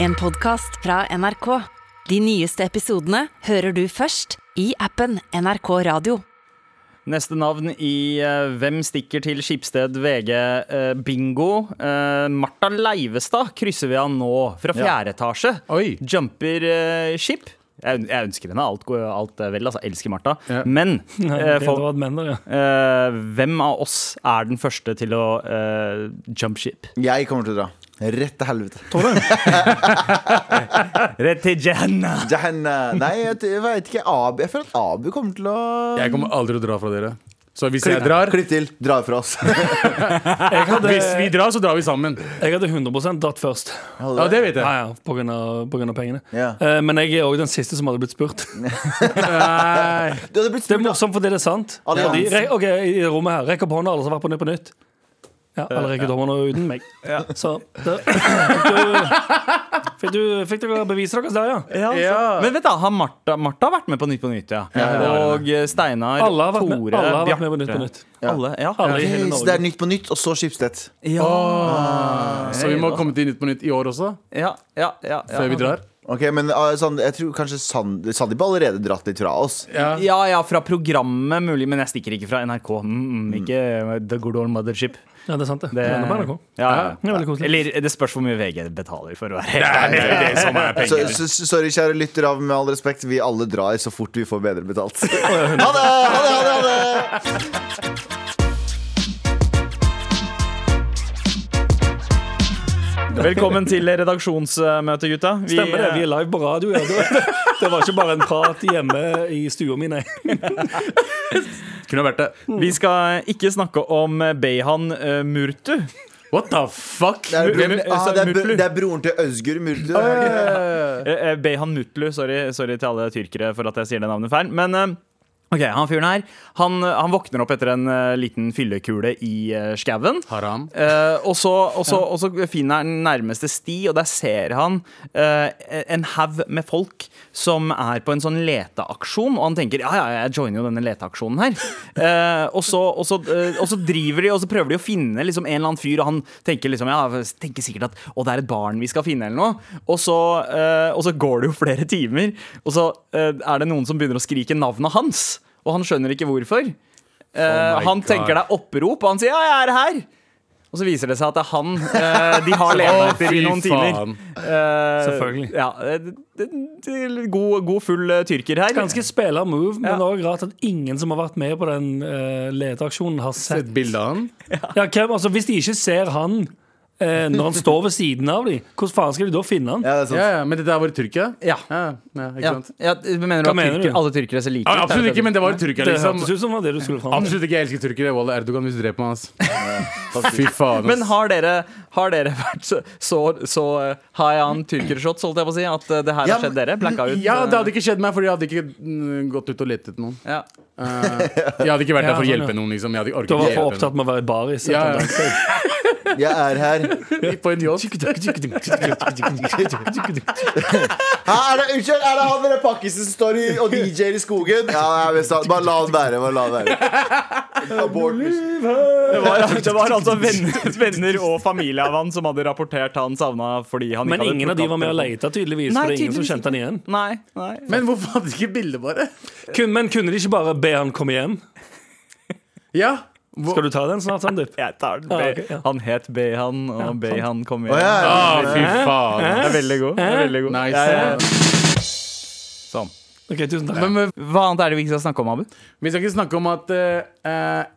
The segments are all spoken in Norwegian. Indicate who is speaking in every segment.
Speaker 1: En podcast fra NRK. De nyeste episodene hører du først i appen NRK Radio.
Speaker 2: Neste navn i eh, Hvem stikker til Skipsted VG eh, bingo. Eh, Martha Leivestad krysser vi av nå, fra fjerde etasje.
Speaker 3: Oi.
Speaker 2: Jumper eh, skip. Jeg, jeg ønsker henne alt, go- alt eh, vel, altså. jeg Elsker Martha.
Speaker 3: Ja.
Speaker 2: Men eh,
Speaker 4: Det
Speaker 2: for,
Speaker 4: var et men der, ja.
Speaker 2: eh, hvem av oss er den første til å eh, jump ship?
Speaker 5: Jeg kommer til å dra. Rett til helvete.
Speaker 2: Rett til Jenna!
Speaker 5: Jahanna. Nei, jeg, t- jeg vet ikke. Abu, jeg føler at Abu kommer til å
Speaker 3: Jeg kommer aldri å dra fra dere. Så hvis jeg drar
Speaker 5: Klipp til. Dra fra oss.
Speaker 4: Jeg hadde,
Speaker 3: Hvis vi drar, så drar vi sammen.
Speaker 4: jeg hadde 100 dratt først.
Speaker 3: Ja, det vet
Speaker 4: Ja,
Speaker 3: jeg.
Speaker 4: ja, på grunn av, på grunn av pengene.
Speaker 5: Ja.
Speaker 4: Eh, Men jeg er òg den siste som hadde blitt spurt.
Speaker 3: Nei.
Speaker 5: Du hadde blitt
Speaker 4: Det er
Speaker 5: spurt da.
Speaker 4: morsomt fordi det er sant. Fordi,
Speaker 5: Alliansen.
Speaker 4: re- ok, I det rommet her. Rekk opp hånda, alle som har vært på Nytt på Nytt. Ja,
Speaker 3: Eh,
Speaker 4: alle rekker opp hånda uten meg. Så da- fikk, du, fikk, du, fikk dere beviset deres der, ja?
Speaker 3: Ja.
Speaker 2: Men vet da, har Martha, Martha har vært med på Nytt på Nytt, ja. Og eh, Steinar,
Speaker 4: Alle har vært med,
Speaker 2: Tore,
Speaker 4: alle har vært med på Nytt
Speaker 2: Bjarte.
Speaker 4: på Nytt.
Speaker 2: Alle, ja.
Speaker 4: Alle i hele
Speaker 5: Så det
Speaker 4: Norge.
Speaker 5: er Nytt på Nytt, og så Skipstedt.
Speaker 3: Så vi må komme til Nytt på Nytt i år også,
Speaker 2: Ja, ja, ja, ja.
Speaker 3: før vi drar.
Speaker 5: Ok, men ah, Sand, Jeg tror kanskje Sand- Sandeep har allerede dratt litt fra oss.
Speaker 3: Ja.
Speaker 2: Ja, ja, fra programmet mulig, men jeg stikker ikke fra NRK. Mm, mm, ikke eh, The Good Old Mothership.
Speaker 4: Ja, det er sant, det. Det er NRK.
Speaker 2: Ja,
Speaker 4: Det
Speaker 2: ja.
Speaker 4: er veldig koselig.
Speaker 2: Eller det spørs hvor mye VG betaler for å være helt
Speaker 3: Det
Speaker 2: ærlig.
Speaker 3: er det som er
Speaker 5: Så,
Speaker 3: penger.
Speaker 5: så, så- sorry, kjære lytter av med all respekt. Vi alle drar så fort vi får bedre betalt. Ha det! ha det, ha det, ha det
Speaker 2: Velkommen til redaksjonsmøte, gutta. Vi,
Speaker 4: Stemmer det. Vi
Speaker 3: eh,
Speaker 4: er live på radio. Ja. Det, det var ikke bare en prat hjemme i stua mi, nei.
Speaker 3: Kunne vært det.
Speaker 2: vi skal ikke snakke om Beihan eh, Murtu.
Speaker 3: What the fuck?
Speaker 5: Det er,
Speaker 2: Hvem-
Speaker 5: broren, ah, det er, bro-
Speaker 2: Mutlu.
Speaker 5: det er broren til Øzgur Murdu. er det ikke?
Speaker 2: Eh, eh, Beyhan Mutlu, sorry, sorry til alle tyrkere for at jeg sier det navnet feil. Men eh, ok, han fyren her, han, han våkner opp etter en eh, liten fyllekule i uh, skauen.
Speaker 3: Haram.
Speaker 2: Eh, og, så, og, så, og så finner han nærmeste sti, og der ser han eh, en haug med folk som er på en sånn leteaksjon. Og han tenker ja, ja, jeg joiner jo denne leteaksjonen her. Eh, og, så, og, så, eh, og så driver de og så prøver de å finne liksom, en eller annen fyr, og han tenker, liksom, ja, tenker sikkert at å, det er et barn vi skal finne, eller noe. Og så, eh, og så går det jo flere timer, og så eh, er det noen som begynner å skrike navnet hans, og han skjønner ikke hvorfor. Eh,
Speaker 3: Oh my
Speaker 2: han
Speaker 3: God.
Speaker 2: tenker det er opprop, og han sier 'ja, jeg er her'. Og så viser det seg at det er han eh, de har levd etter i noen timer. Eh,
Speaker 4: Selvfølgelig.
Speaker 2: Ja, eh, det, det, det- god, god full eh, tyrker her.
Speaker 4: Ganske spela move, men
Speaker 2: Ja.
Speaker 4: òg rart at ingen som har vært med på den uh, leteaksjonen, har sett
Speaker 3: Et bilde av han.
Speaker 4: ja, hvem, altså, Hvis de ikke ser han eh, når han står ved siden av dem, hvordan faen skal de da finne han?
Speaker 5: Ja, det er sant.
Speaker 3: Ja, ja, men dette her var i Tyrkia?
Speaker 2: Ja.
Speaker 3: Ja, ja, ikke
Speaker 2: Ja,
Speaker 3: sant?
Speaker 2: ja, mener du
Speaker 4: Hva
Speaker 2: at
Speaker 4: mener
Speaker 2: tyrker,
Speaker 4: du?
Speaker 2: alle tyrkere ser like
Speaker 3: Ja, absolutt ikke, men det var i
Speaker 4: Det
Speaker 3: Tyrkia, liksom.
Speaker 4: hørtes ut som var det du skulle fram til.
Speaker 3: Absolutt ikke. Jeg elsker tyrkere. Wallah, Erdogan, hvis du dreper meg, ass. Fy faen, ass.
Speaker 2: Men har dere, har dere vært så, så, så eh, high on tyrkershots, holdt jeg på å si, at eh, det her
Speaker 5: Ja,
Speaker 2: har skjedd dere? Blacka ut?
Speaker 3: Ja,
Speaker 2: eh,
Speaker 3: det hadde ikke skjedd meg, Fordi jeg hadde ikke mm, gått ut og lett etter noen.
Speaker 2: ja.
Speaker 3: Eh, jeg hadde ikke vært der for
Speaker 4: Ja,
Speaker 3: å
Speaker 4: sånn,
Speaker 3: hjelpe
Speaker 4: ja.
Speaker 3: noen, liksom. Jeg hadde ikke
Speaker 4: Du
Speaker 3: orket å
Speaker 4: var for
Speaker 3: hjelpe
Speaker 4: opptatt med å være i baris.
Speaker 3: Ja, ja.
Speaker 5: Jeg er her.
Speaker 3: noen. På en yacht.
Speaker 5: Hæ, er det, unnskyld, er det han med den pakkisen som står i, og DJ-er i skogen? Ja, jeg vet sant. Bare la han være. Bare la han være. Abort, liksom.
Speaker 2: Det, var, det var altså venner, venner og familie av han som hadde rapportert han savna fordi han
Speaker 4: Men
Speaker 2: ikke hadde
Speaker 4: ingen av
Speaker 2: plukket
Speaker 4: de
Speaker 2: opp
Speaker 4: var med og
Speaker 2: telefonen.
Speaker 4: leita, tydeligvis.
Speaker 2: Nei,
Speaker 4: for det er ingen som
Speaker 2: tydeligvis
Speaker 4: kjente han igjen
Speaker 2: Nei, nei.
Speaker 3: Men hvorfor hadde de ikke bilde, bare?
Speaker 4: Kun, Men kunne de ikke bare be han komme hjem?
Speaker 3: Ja.
Speaker 4: Skal du ta den snart, Sandeep?
Speaker 2: Jeg tar den.
Speaker 4: Ja, ok, ja.
Speaker 2: Han het Behan, og Behan kom igjen.
Speaker 5: Å, ja, ja.
Speaker 3: Ah, fy faen.
Speaker 2: Det er veldig god. Det er veldig god.
Speaker 3: Nice.
Speaker 2: Ja, ja, ja.
Speaker 3: Sånn.
Speaker 4: Ok, tusen takk
Speaker 3: Men, men
Speaker 2: Hva annet er det vi ikke skal snakke om, Abu?
Speaker 3: vi skal ikke snakke om at eh, eh,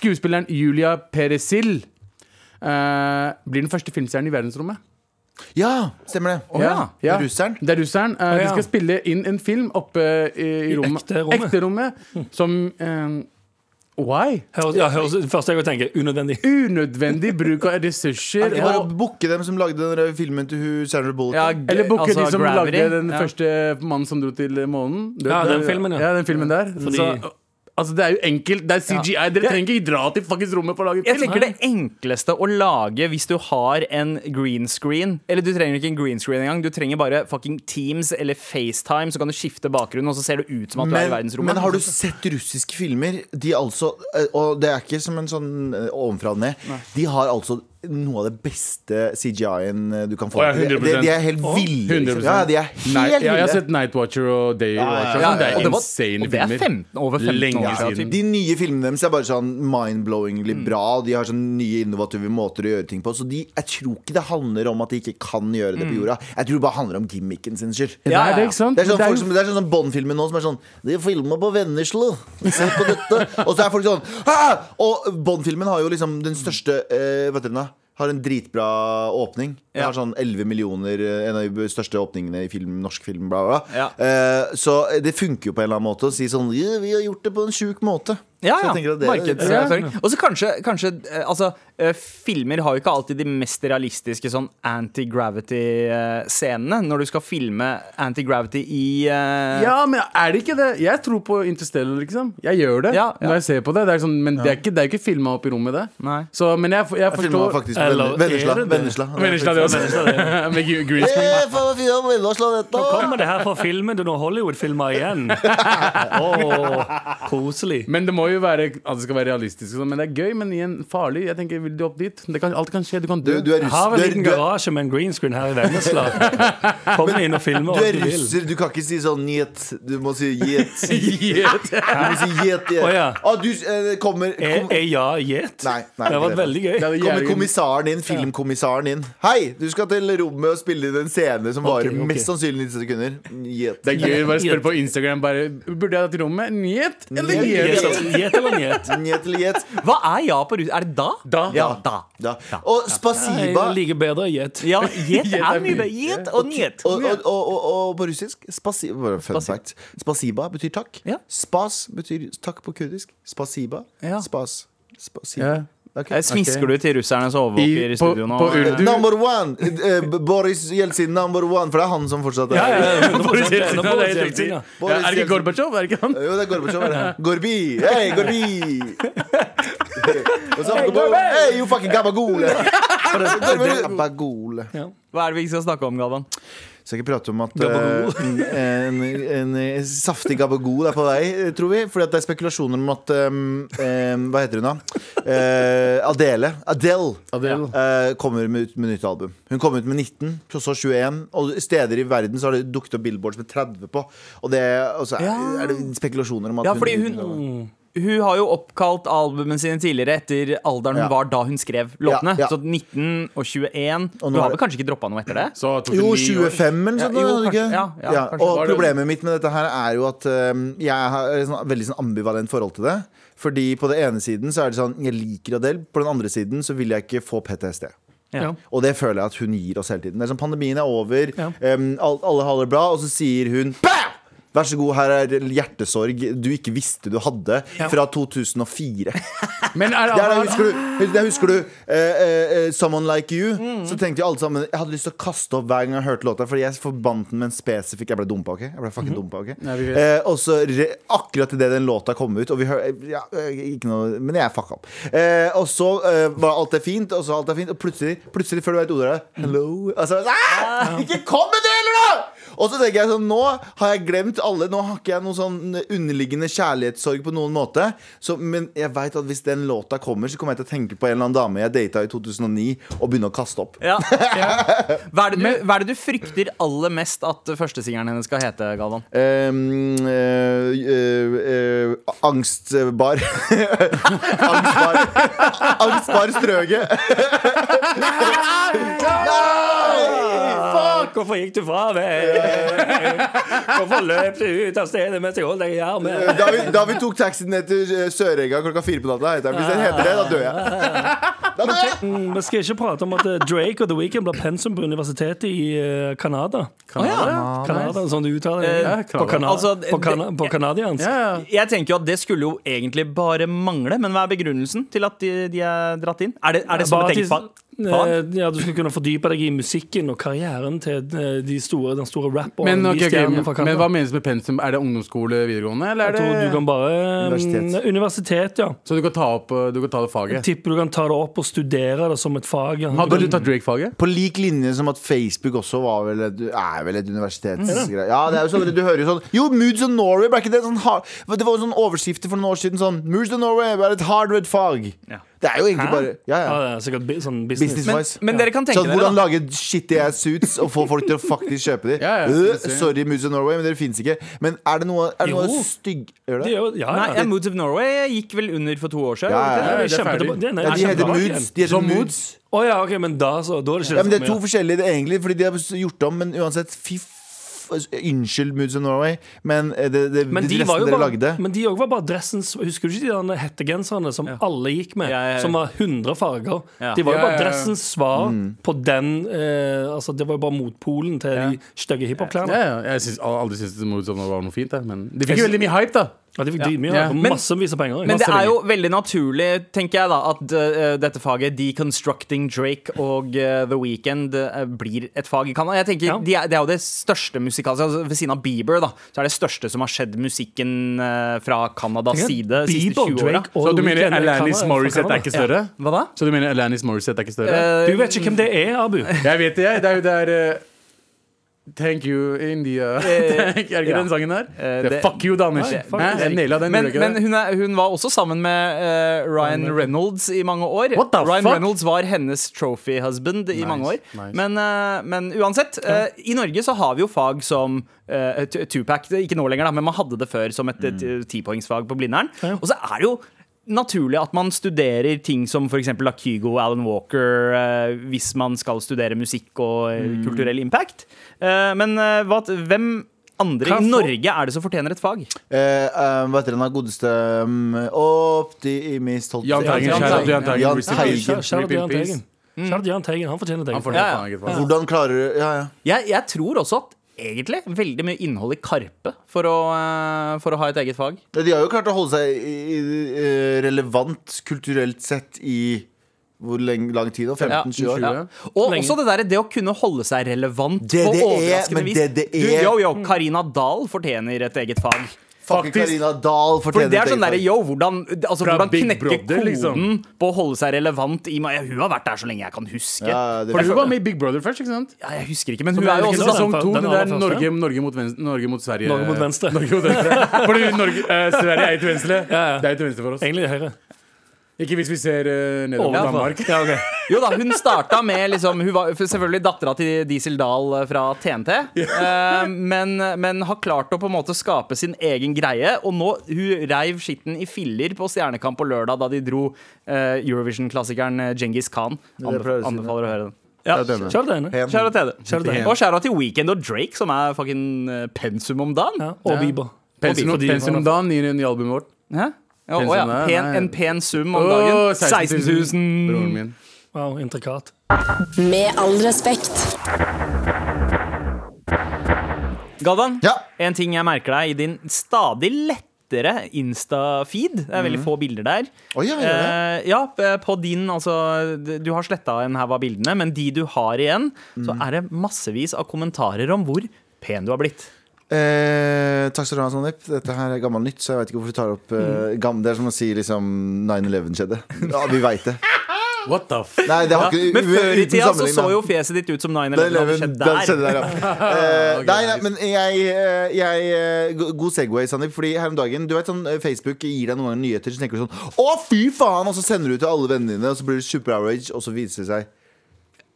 Speaker 3: skuespilleren Julia Perezil eh, blir den første filmstjernen i verdensrommet.
Speaker 5: ja, stemmer det.
Speaker 3: Ja, ja.
Speaker 5: Russeren.
Speaker 3: Det er russeren. Eh,
Speaker 4: ja.
Speaker 3: De skal spille inn en film oppe i, i rommet.
Speaker 4: ekte rommet.
Speaker 3: rommet, Som eh, Why?
Speaker 4: Høres, ja, høres, Først jeg tenker unødvendig.
Speaker 3: Unødvendig bruk av ressurser.
Speaker 5: Bare å
Speaker 3: Og,
Speaker 5: booke dem som lagde den der filmen til hun Sandra Bullock.
Speaker 3: eller booke
Speaker 4: altså
Speaker 3: de
Speaker 2: altså,
Speaker 3: som
Speaker 2: Gravity.
Speaker 3: lagde den
Speaker 2: Ja.
Speaker 3: første mannen som dro til månen. Du
Speaker 4: Ja,
Speaker 3: vet,
Speaker 4: den
Speaker 3: det-
Speaker 4: filmen, ja.
Speaker 3: ja. den filmen der.
Speaker 4: Fordi-
Speaker 3: Så, altså, det er jo enkelt. Det er CGI. Dere trenger ikke dra til fuckings rommet for å lage
Speaker 2: Jeg
Speaker 3: film.
Speaker 2: tenker det enkleste å lage hvis du har en green screen Eller du trenger ikke en green screen engang. Du trenger bare fucking Teams eller FaceTime, så kan du skifte bakgrunn, og så ser det ut som at du er i
Speaker 5: Men,
Speaker 2: verdensrommet.
Speaker 5: men har du sett russiske filmer? De altså eh, Og det er ikke som en sånn eh, ovenfra og ned. De har altså noe av det beste CGI-en eh, du kan få.
Speaker 3: Å, ja, 100%.
Speaker 5: de, de er helt ville. Liksom.
Speaker 3: 100%.
Speaker 5: Ja, de er helt
Speaker 3: Nei, ja, jeg har
Speaker 5: ville.
Speaker 3: sett Nightwatcher og
Speaker 5: ja,
Speaker 3: Daywatcher.
Speaker 5: ja.
Speaker 3: Det
Speaker 2: Og
Speaker 3: er
Speaker 2: det var-
Speaker 3: insane
Speaker 2: og det er
Speaker 3: filmer.
Speaker 2: 15 over 15
Speaker 3: Lenge
Speaker 2: år siden.
Speaker 3: siden.
Speaker 5: De nye filmene deres er bare sånn mind-blowingly bra. Og de har sånn nye innovative måter å gjøre ting på. Så de, jeg tror ikke det handler om at de ikke kan gjøre det på jorda. Jeg tror det bare handler om gimmicken sin skyld.
Speaker 3: Ja,
Speaker 2: Ja, ja, ja.
Speaker 3: det er ikke sant?
Speaker 5: Det er sånn,
Speaker 3: Det er
Speaker 5: folk
Speaker 3: jo-
Speaker 5: som, det er sånn, sånn Bond-filmer nå som er sånn De filmer på Vennesla. Se på dette. Og så er folk sånn «Hæ?» Og Bond-filmen har jo liksom den største eh, Vet dere hva? Har en dritbra åpning. Den
Speaker 2: Ja.
Speaker 5: har sånn 11 millioner eh, En av de største åpningene i film, norsk film. Bla, bla. bla.
Speaker 2: Ja.
Speaker 5: Eh, så det funker jo på en eller annen måte å si sånn «Ja, Vi har gjort det på en sjuk måte.
Speaker 2: Ja,
Speaker 5: Så
Speaker 2: ja.
Speaker 5: jeg tenker at det-
Speaker 2: Markedsføring. Og så kanskje, kanskje eh, altså, eh, Filmer har jo ikke alltid de mest realistiske sånn anti-gravity-scenene. Når du skal filme anti-gravity i eh,
Speaker 3: Ja, men er det ikke det? Jeg tror på Interstellar, liksom. Jeg gjør det
Speaker 2: Ja, ja.
Speaker 3: når jeg ser på det. det er sånn, men det er ikke, det er ikke filma opp i rommet, det.
Speaker 2: Nei.
Speaker 3: Så, men jeg, jeg
Speaker 5: Jeg filma
Speaker 3: forstår
Speaker 5: faktisk på
Speaker 4: Eller er
Speaker 5: Vennesla.
Speaker 4: det det?
Speaker 5: Vennesla.
Speaker 3: Vennesla, det også. Med gre- green screen.
Speaker 5: Eh, faen, fy, jeg må inn og slå dette.
Speaker 4: Nå kommer det her fra filmen til noen Hollywood-filmer igjen. Åh, koselig.
Speaker 3: Men det må jo være at det skal være realistisk. og sånn, Men det er gøy, men igjen farlig. Jeg tenker, Vil du opp dit? Det kan, alt kan skje. Du kan dø.
Speaker 5: Du, du er
Speaker 4: Jeg har en
Speaker 5: russ-
Speaker 4: liten
Speaker 5: du er-
Speaker 4: garasje med en green screen her i Vennesla. Kom inn og film
Speaker 5: Du
Speaker 4: hva
Speaker 5: er
Speaker 4: du vil.
Speaker 5: russer, du kan ikke si sånn njet. Du må si jet.
Speaker 3: Shit.
Speaker 5: Du må si jet, jet.
Speaker 4: Å, ja.
Speaker 5: ah, du eh, kommer
Speaker 4: Er,
Speaker 5: kom,
Speaker 4: er ja gjet?
Speaker 5: Nei,
Speaker 4: Det
Speaker 5: nei,
Speaker 4: har
Speaker 5: ikke
Speaker 4: vært
Speaker 5: det.
Speaker 4: veldig gøy.
Speaker 3: Det er
Speaker 5: Kommer
Speaker 3: jævlig-
Speaker 5: kommissaren inn, filmkommissaren inn. Hei, du skal til rommet og spille inn en scene som varer
Speaker 4: Ok, ok.
Speaker 5: mest sannsynlig 90 sekunder. Jet.
Speaker 3: Det er gøy å bare spørre på Instagram bare, Burde jeg dra til rommet? Njet eller
Speaker 5: Njet.
Speaker 3: jet?
Speaker 4: Gjet, altså. Gjet eller njet?
Speaker 5: Njet eller jet.
Speaker 2: Hva er ja på rus? Er det da?
Speaker 3: Da.
Speaker 2: Ja, da.
Speaker 5: Da. Og spasiba
Speaker 4: Jeg liker bedre gjet.
Speaker 2: Ja, jet er mye bedre. Jet og njet.
Speaker 5: og, og, og, og, og på russisk spasiba, bare fun
Speaker 2: Spasi-
Speaker 5: fact. spasiba betyr takk.
Speaker 2: Ja.
Speaker 5: Spas betyr takk på kurdisk. Spasiba.
Speaker 2: Ja.
Speaker 5: Spas. Spasiba.
Speaker 3: Ja.
Speaker 5: Ok.
Speaker 2: Eh, Smisker du til russerne som
Speaker 3: I-
Speaker 2: overvåker
Speaker 3: på-
Speaker 2: i studio nå?
Speaker 3: på Urdu. Du-
Speaker 5: Number one! Eh, Boris Jeltsin, number one. For det er han som fortsatt er
Speaker 4: Ja, ja, ja, 100%.
Speaker 3: Boris Jeltsin,
Speaker 4: Nå må
Speaker 3: det er helt
Speaker 4: Boris Jeltsin,
Speaker 3: riktig.
Speaker 4: ja.
Speaker 3: Ja, er det ikke Gorbatsjov? Er det ikke han?
Speaker 5: Jo, det er Gorbatsjov. er det. Gorbi! Hei, Gorbi! What's up, Gorbi? Hey, you fucking gabagole! Gabagole.
Speaker 2: Hva er det vi ikke skal snakke om, Galvan?
Speaker 5: Skal ikke prate om at eh, en, en, en saftig gabagol er på vei, eh, tror vi. Fordi at det er spekulasjoner om at eh, eh, Hva heter hun, da? Eh, Adele. Adele.
Speaker 3: Adele.
Speaker 5: eh, kommer med, ut med nytt album. Hun kom ut med 19, og så 21. Og steder i verden så har det dukket opp billboards med 30 på. Og, det, og så er, er det spekulasjoner om at
Speaker 2: Ja, fordi hun hun har jo oppkalt albumene sine tidligere etter alderen hun
Speaker 5: Ja.
Speaker 2: var da hun skrev låtene.
Speaker 5: Ja, ja.
Speaker 2: Så 19 og 21
Speaker 5: Og nå
Speaker 2: Du
Speaker 5: er
Speaker 2: har
Speaker 5: det-
Speaker 2: vel kanskje ikke droppa noe etter det?
Speaker 3: Så tok det
Speaker 5: Jo,
Speaker 3: ni år.
Speaker 5: 25 eller
Speaker 2: Ja,
Speaker 5: sånn.
Speaker 2: jo,
Speaker 5: er det ikke?
Speaker 2: kanskje. Ja, ja, kanskje.
Speaker 5: Og
Speaker 3: Var det-
Speaker 5: problemet mitt med dette her er jo at øhm, jeg har et sånn, veldig sånn ambivalent forhold til det. Fordi på den ene siden så er det sånn Jeg liker Adele. På den andre siden så vil jeg ikke få PTSD.
Speaker 2: Ja.
Speaker 5: Og det føler jeg at hun gir oss hele tiden. Det er sånn, Pandemien er over, øhm, al- alle har det bra, og så sier hun Bam! Vær så god, her er hjertesorg du ikke visste du hadde fra 2004.
Speaker 3: Men er det,
Speaker 5: Ja, da husker du, hus- da husker du eh, eh, eh, 'Someone Like You'.
Speaker 3: Mm.
Speaker 5: Så tenkte jo alle sammen Jeg hadde lyst til å kaste opp hver gang jeg hørte låta, Fordi jeg forbandt den med en spesifikk Jeg ble dumpa, OK? Jeg ble fucking dumpa, ok?
Speaker 3: Mhm. Nei, vi vet.
Speaker 5: Eh, og så re- akkurat idet den låta kom ut, og vi hører ja, eh, Ikke noe Men jeg fucka opp. Eh, og så eh, var alt er fint, og så alt er fint, og plutselig, plutselig før du vet ordet av det, Hello altså, «Ah! Ikke kom med det, eller noe! Og så tenker jeg sånn, nå har jeg glemt alle Nå har ikke jeg noen sånn underliggende kjærlighetssorg på noen måte så, Men jeg vet at hvis den låta kommer Så kommer jeg til å tenke på en eller annen dame jeg datet i 2009 Og begynne å kaste opp
Speaker 2: Ja. Hva, er det du, hva er det du frykter aller mest at førstesingeren hennes skal hete, Galvan?
Speaker 5: Ehm, eh, eh, eh, Angstbar Angstbar Angstbar strøge
Speaker 4: Hvorfor gikk du fra meg? Hvorfor løp du ut av stedet mens jeg holdt deg i armen?
Speaker 5: da vi, da vi tok taxi ned til eh, Sørenga klokka fire på natta heter jeg, Hvis jeg heter det, da dør jeg Da dør jeg
Speaker 4: Mm, Vi skal ikke prate om at eh, Drake og The Weeknd blir pensum på universitetet i eh, Canada.
Speaker 2: Å, ja.
Speaker 4: Canada, sånn du uttaler det.
Speaker 2: Eh,
Speaker 4: På, kana
Speaker 2: altså,
Speaker 4: på, kana på canadiansk.
Speaker 3: Ja, ja.
Speaker 2: Jeg tenker jo at Det skulle jo egentlig bare mangle, men hva er begrunnelsen til at de, de er dratt inn? Er det, er det sånn du
Speaker 4: Bare at
Speaker 2: tenker på?
Speaker 4: de-
Speaker 2: fag?
Speaker 4: eh, ja, Du skal kunne fordype deg i musikken og karrieren til eh, de store, den store rap- og
Speaker 3: Men, ok, ok,
Speaker 4: R&B-stjernene fra
Speaker 3: men
Speaker 4: Canada.
Speaker 3: hva menes med pensum? Er det ungdomsskole, videregående? Eller
Speaker 4: Jeg tror
Speaker 3: er
Speaker 4: du
Speaker 3: det
Speaker 4: kan bare
Speaker 5: Universitet.
Speaker 4: Universitet. Universitet, ja.
Speaker 3: Så du kan ta, opp, eh, du kan ta det faget?
Speaker 4: Tipper du kan ta det opp og studere det som et fag. Ja.
Speaker 3: Hadde du tatt Drake-faget?
Speaker 5: På lik linje som at Facebook også var vel et, er vel et universitetsgreie. Ja, det er jo sånn, du hører jo sånn Jo, Moods of Norway, ble ikke det sånn hard Det var jo sånn overskrifter for noen år siden sånn Moods of Norway var et hard red fag.
Speaker 2: Ja.
Speaker 5: Det Det er jo egentlig bare ja,
Speaker 4: Ja,
Speaker 5: ja.
Speaker 4: det er sikkert bi- sånn business.
Speaker 5: business
Speaker 2: Men-
Speaker 5: wise.
Speaker 2: men dere kan tenke
Speaker 5: sånn,
Speaker 2: dere,
Speaker 5: Hvordan
Speaker 2: da.
Speaker 5: lage shitty ass suits og få folk til å faktisk kjøpe de.
Speaker 3: Ja, ja,
Speaker 5: Øh,
Speaker 3: det ser jeg.
Speaker 5: sorry, Moods of Norway, men dere fins ikke. Men er det noe, er det
Speaker 4: Jo.
Speaker 5: noe stygg Gjør det?
Speaker 4: De er jo, ja,
Speaker 2: Nei,
Speaker 4: ja.
Speaker 2: ja, Moods of Norway gikk vel under for to år siden.
Speaker 5: Ja, ja,
Speaker 2: gjorde
Speaker 5: ja.
Speaker 2: det
Speaker 4: Det
Speaker 3: det
Speaker 4: er
Speaker 3: er ferdig.
Speaker 4: kjempedebatt. Det er- nei,
Speaker 5: Ja, de heter
Speaker 4: kjempedebatt
Speaker 5: Moods.
Speaker 4: igjen.
Speaker 5: De heter
Speaker 3: Som
Speaker 5: moods.
Speaker 3: moods.
Speaker 4: Å ja, ok, men da så Da er det ikke
Speaker 5: Ja, men Det er
Speaker 4: så
Speaker 5: to
Speaker 4: mye.
Speaker 5: forskjellige det er egentlig, fordi de har gjort om, men uansett fy f- altså, Unnskyld, Moods of Norway, men eh, det, det,
Speaker 4: men
Speaker 5: det
Speaker 4: de,
Speaker 5: dressen
Speaker 4: var jo
Speaker 5: dere
Speaker 4: bare,
Speaker 5: lagde
Speaker 4: men de også var bare dressens Husker du ikke de derne hettegenserne som alle gikk med?
Speaker 2: Ja, ja, ja.
Speaker 4: Som var 100 farger.
Speaker 2: Ja.
Speaker 4: De var jo
Speaker 3: Ja,
Speaker 4: bare
Speaker 3: ja, ja.
Speaker 4: dressens svar
Speaker 5: Mm.
Speaker 4: på den eh, Altså Det var jo bare motpolen til de stygge
Speaker 3: Ja,
Speaker 4: hiphopklærne.
Speaker 3: ja. Jeg syns aldri syntes Moods of Norway var noe fint, jeg, men de fikk jo veldig mye hype, da.
Speaker 4: Ja, de fikk dritmye
Speaker 3: Ja.
Speaker 4: og
Speaker 2: Men-
Speaker 4: massevis av penger.
Speaker 2: Men det
Speaker 3: Masse
Speaker 2: er jo veldig naturlig, tenker jeg da, at eh, dette faget, deconstructing Drake og eh, The Weeknd, eh, blir et fag i Canada. Jeg tenker,
Speaker 4: Ja.
Speaker 2: de er, Det er jo det største musikalske altså, Ved siden av Bieber, da, så er det største som har skjedd musikken eh, fra Canadas side de siste 20
Speaker 4: Bieber,
Speaker 2: åra.
Speaker 4: Drake og
Speaker 3: Så du
Speaker 4: The
Speaker 3: mener
Speaker 4: Weeknd er
Speaker 3: Alanis
Speaker 4: Canada- fra
Speaker 3: Morissette er
Speaker 4: Canada?
Speaker 3: ikke større?
Speaker 2: Hva da?
Speaker 3: Så du mener Alanis Morissette er ikke større?
Speaker 2: Eh,
Speaker 4: Du vet ikke hvem det er, Abu.
Speaker 3: Jeg vet det, jeg. Det er jo der eh, Thank you, India. Thank, er det ikke
Speaker 2: Eh, ja.
Speaker 3: den sangen der?
Speaker 2: Eh,
Speaker 3: det,
Speaker 2: det-
Speaker 3: fuck you, Danish.
Speaker 2: Nei, fuck
Speaker 3: Hæ?
Speaker 2: you.
Speaker 3: Jeg naila den.
Speaker 2: men
Speaker 3: gjorde jeg ikke
Speaker 2: men
Speaker 3: det?
Speaker 2: hun, er, hun var også sammen med eh, Ryan Reynolds i mange år.
Speaker 3: What the
Speaker 2: Ryan
Speaker 3: fuck?
Speaker 2: Reynolds var hennes trophy husband i mange år.
Speaker 3: nice.
Speaker 2: Men, eh, men uansett, eh, i Norge så har vi jo fag som uh, Tupac. det- Ikke nå lenger, da, men man hadde det før som et mm. tipoengsfag på Blindern. Og så er det jo naturlig at man studerer ting som f.eks. Lakygo, Alan Walker, eh, hvis man skal studere musikk og eh,
Speaker 3: Mm.
Speaker 2: kulturell impact. Eh, men eh, hva, hvem andre
Speaker 4: Kan
Speaker 2: i
Speaker 4: jeg få-
Speaker 2: Norge er det som fortjener et fag?
Speaker 5: Eh, eh, Hva heter den da? godeste um, Optimist holdt-
Speaker 3: Jan
Speaker 5: Jan
Speaker 3: Teigen, kjære Jan Teigen,
Speaker 5: Jan
Speaker 3: rest in
Speaker 5: Teigen.
Speaker 3: peace.
Speaker 4: Kjære
Speaker 3: Rip in
Speaker 4: Jahn
Speaker 3: peace.
Speaker 4: Teigen. Kjære Jahn Teigen, han fortjener det.
Speaker 3: Han
Speaker 2: Ja,
Speaker 3: får det
Speaker 2: ja.
Speaker 3: faen ikke. faen.
Speaker 5: Hvordan klarer du Ja, ja.
Speaker 2: Jeg, jeg tror også at egentlig veldig mye innhold i Karpe for å, eh, for å ha et eget fag.
Speaker 5: Ja, De har jo klart å holde seg i- i- eh, relevant kulturelt sett i hvor lenge, lang tid? da? 15-20 år?
Speaker 2: Ja.
Speaker 5: Ja.
Speaker 2: Og
Speaker 4: Lenge.
Speaker 2: også det der, det å kunne holde seg relevant
Speaker 5: Det det
Speaker 2: på
Speaker 5: er,
Speaker 2: overraskende
Speaker 5: men
Speaker 2: vis.
Speaker 5: det det
Speaker 2: Du,
Speaker 5: er.
Speaker 2: yo, yo, Karina Dahl fortjener et eget fag.
Speaker 5: Fucking
Speaker 3: Faktisk.
Speaker 5: Karina Dahl
Speaker 2: For
Speaker 5: fortjener
Speaker 2: det er sånn
Speaker 5: et
Speaker 2: derre
Speaker 5: eget
Speaker 2: yo, hvordan, altså,
Speaker 3: Fra
Speaker 2: hvordan
Speaker 3: Big
Speaker 2: knekke
Speaker 3: Brother,
Speaker 2: koden
Speaker 3: liksom.
Speaker 2: på å holde seg relevant i meg? Hun har vært der så lenge jeg kan huske.
Speaker 5: Ja, ja, det
Speaker 3: For
Speaker 5: vet jeg.
Speaker 3: hun var med i Big Brother først, ikke sant?
Speaker 2: Ja, jeg husker ikke, men hun
Speaker 4: det
Speaker 2: er jo
Speaker 4: ikke
Speaker 2: også
Speaker 4: sant?
Speaker 2: sånn
Speaker 3: Sesong to,
Speaker 4: Den
Speaker 3: det der
Speaker 4: aller første.
Speaker 3: Norge, Norge, mot venstre, Norge mot Sverige.
Speaker 4: Norge mot venstre.
Speaker 3: Norge mot venstre. Fordi Norge, eh, Sverige er jo til venstre.
Speaker 4: Ja, ja.
Speaker 3: Det er jo til venstre for oss.
Speaker 4: Egentlig høyre.
Speaker 3: Ikke hvis vi ser eh, nedover mot
Speaker 4: Overfor.
Speaker 3: Danmark.
Speaker 4: Ja, ok.
Speaker 2: Jo da, hun starta med liksom, Hun var selvfølgelig dattera til Diesel Dahl eh, fra TNT. eh, men, men har klart å på en måte skape sin egen greie. Og nå hun reiv skitten i filler på Stjernekamp på lørdag da de dro eh, Eurovision-klassikeren Djengis Khan.
Speaker 5: det
Speaker 2: Anbef
Speaker 5: pleier å si,
Speaker 2: anbefaler å høre den.
Speaker 4: Ja,
Speaker 5: Jeg er enig.
Speaker 4: kjære Teigen.
Speaker 5: Pen.
Speaker 2: Kjære til
Speaker 4: Kjære til
Speaker 2: deg.
Speaker 4: deg.
Speaker 2: Og kjære til Weekend og Drake, som er fucking eh, pensum om dagen.
Speaker 4: Ja, og Bieber.
Speaker 3: Pensum,
Speaker 4: Fordi-
Speaker 3: pensum om dagen, nye, nye albumet vårt.
Speaker 2: Hæ? Ja, å
Speaker 3: Pensum,
Speaker 2: ja.
Speaker 3: nei,
Speaker 2: Pen,
Speaker 3: nei.
Speaker 2: en pen sum om dagen.
Speaker 3: Åh,
Speaker 2: 16 000.
Speaker 3: Broren min.
Speaker 4: Mm. Wow, intrikat.
Speaker 1: Med all respekt.
Speaker 2: Galvan,
Speaker 5: Ja.
Speaker 2: en ting jeg merker deg i din stadig lettere Insta-feed. Det er veldig få bilder der.
Speaker 5: Mm. Oi, ja, gjør
Speaker 2: Eh,
Speaker 5: det?
Speaker 2: ja, på din, altså Du har sletta en haug av bildene, men de du har igjen, så
Speaker 5: Mm.
Speaker 2: er det massevis av kommentarer om hvor pen du har blitt.
Speaker 5: Eh, takk skal du ha, Sandeep. Dette her er gammel nytt, så jeg vet ikke hvorfor du tar opp
Speaker 2: Mm.
Speaker 5: eh, gam- Det er som å si liksom 9-11 skjedde. Ja, vi veit det.
Speaker 3: What the f...
Speaker 5: Nei, det har ikke
Speaker 2: Men før i
Speaker 5: uten
Speaker 2: tida så
Speaker 5: sammenligning,
Speaker 2: så
Speaker 5: da.
Speaker 2: jo fjeset ditt ut som 9-11 hadde
Speaker 5: Den eleven-
Speaker 2: skjedd
Speaker 5: den
Speaker 2: der.
Speaker 5: skjedde der, ja. Eh, nei, nei, men jeg, eh, jeg eh, go- God Segway, Sandeep. Fordi her om dagen Du vet sånn eh, Facebook gir deg noen ganger nyheter, så tenker du sånn Å, fy faen! Og så sender du til alle vennene dine, og så blir du super outrage, og så viser det seg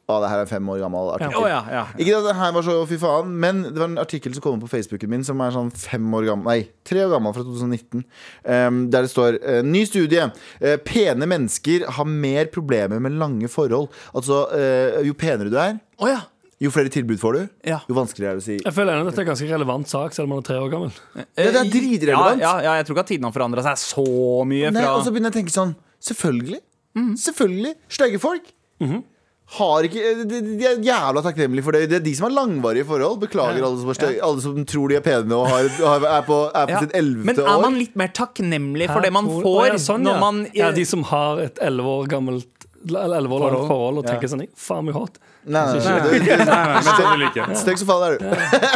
Speaker 5: Å, det her er en fem år gammel artikkel.
Speaker 2: Å ja, ja.
Speaker 5: Ikke at det her var så fy faen, men det var en artikkel som kom opp på Facebooken min som er sånn fem år gammel, nei, tre år gammel fra 2019. ehm, der det står eh, Ny studie. Eh, pene mennesker har mer problemer med lange forhold. Altså, eh, jo penere du er,
Speaker 2: Å ja.
Speaker 5: jo flere tilbud får du,
Speaker 2: Ja.
Speaker 5: jo vanskeligere er det å si
Speaker 4: Jeg føler ennå at dette er en ganske relevant sak, selv om man er tre år gammel.
Speaker 5: Ja, det er dritrelevant.
Speaker 2: Ja, ja, ja, jeg tror ikke at tidene har forandra seg så mye
Speaker 5: Nei,
Speaker 2: fra
Speaker 5: og så begynner jeg å tenke sånn Selvfølgelig. Selvfølgelig. Stygge folk. Har ikke, eh, de, de er jævla takknemlige for det. Det er de som har langvarige forhold. Beklager alle som, er stygge- alle som tror de er pene og har, har, er på, er på
Speaker 2: Ja.
Speaker 5: sitt ellevte år.
Speaker 2: Men er man litt mer takknemlig for det man
Speaker 4: Her tror-
Speaker 2: får
Speaker 4: Å, ja, sånn,
Speaker 2: når
Speaker 4: ja.
Speaker 2: man
Speaker 4: Ja, de som har et elleve år gammelt elleve år langt
Speaker 3: Forhold.
Speaker 4: forhold og tenker sånn Faen meg hot.
Speaker 5: Nei, nei, nei,
Speaker 3: Nei, nei, nei, selvfølgelig ikke.
Speaker 5: Stygg som faen er du.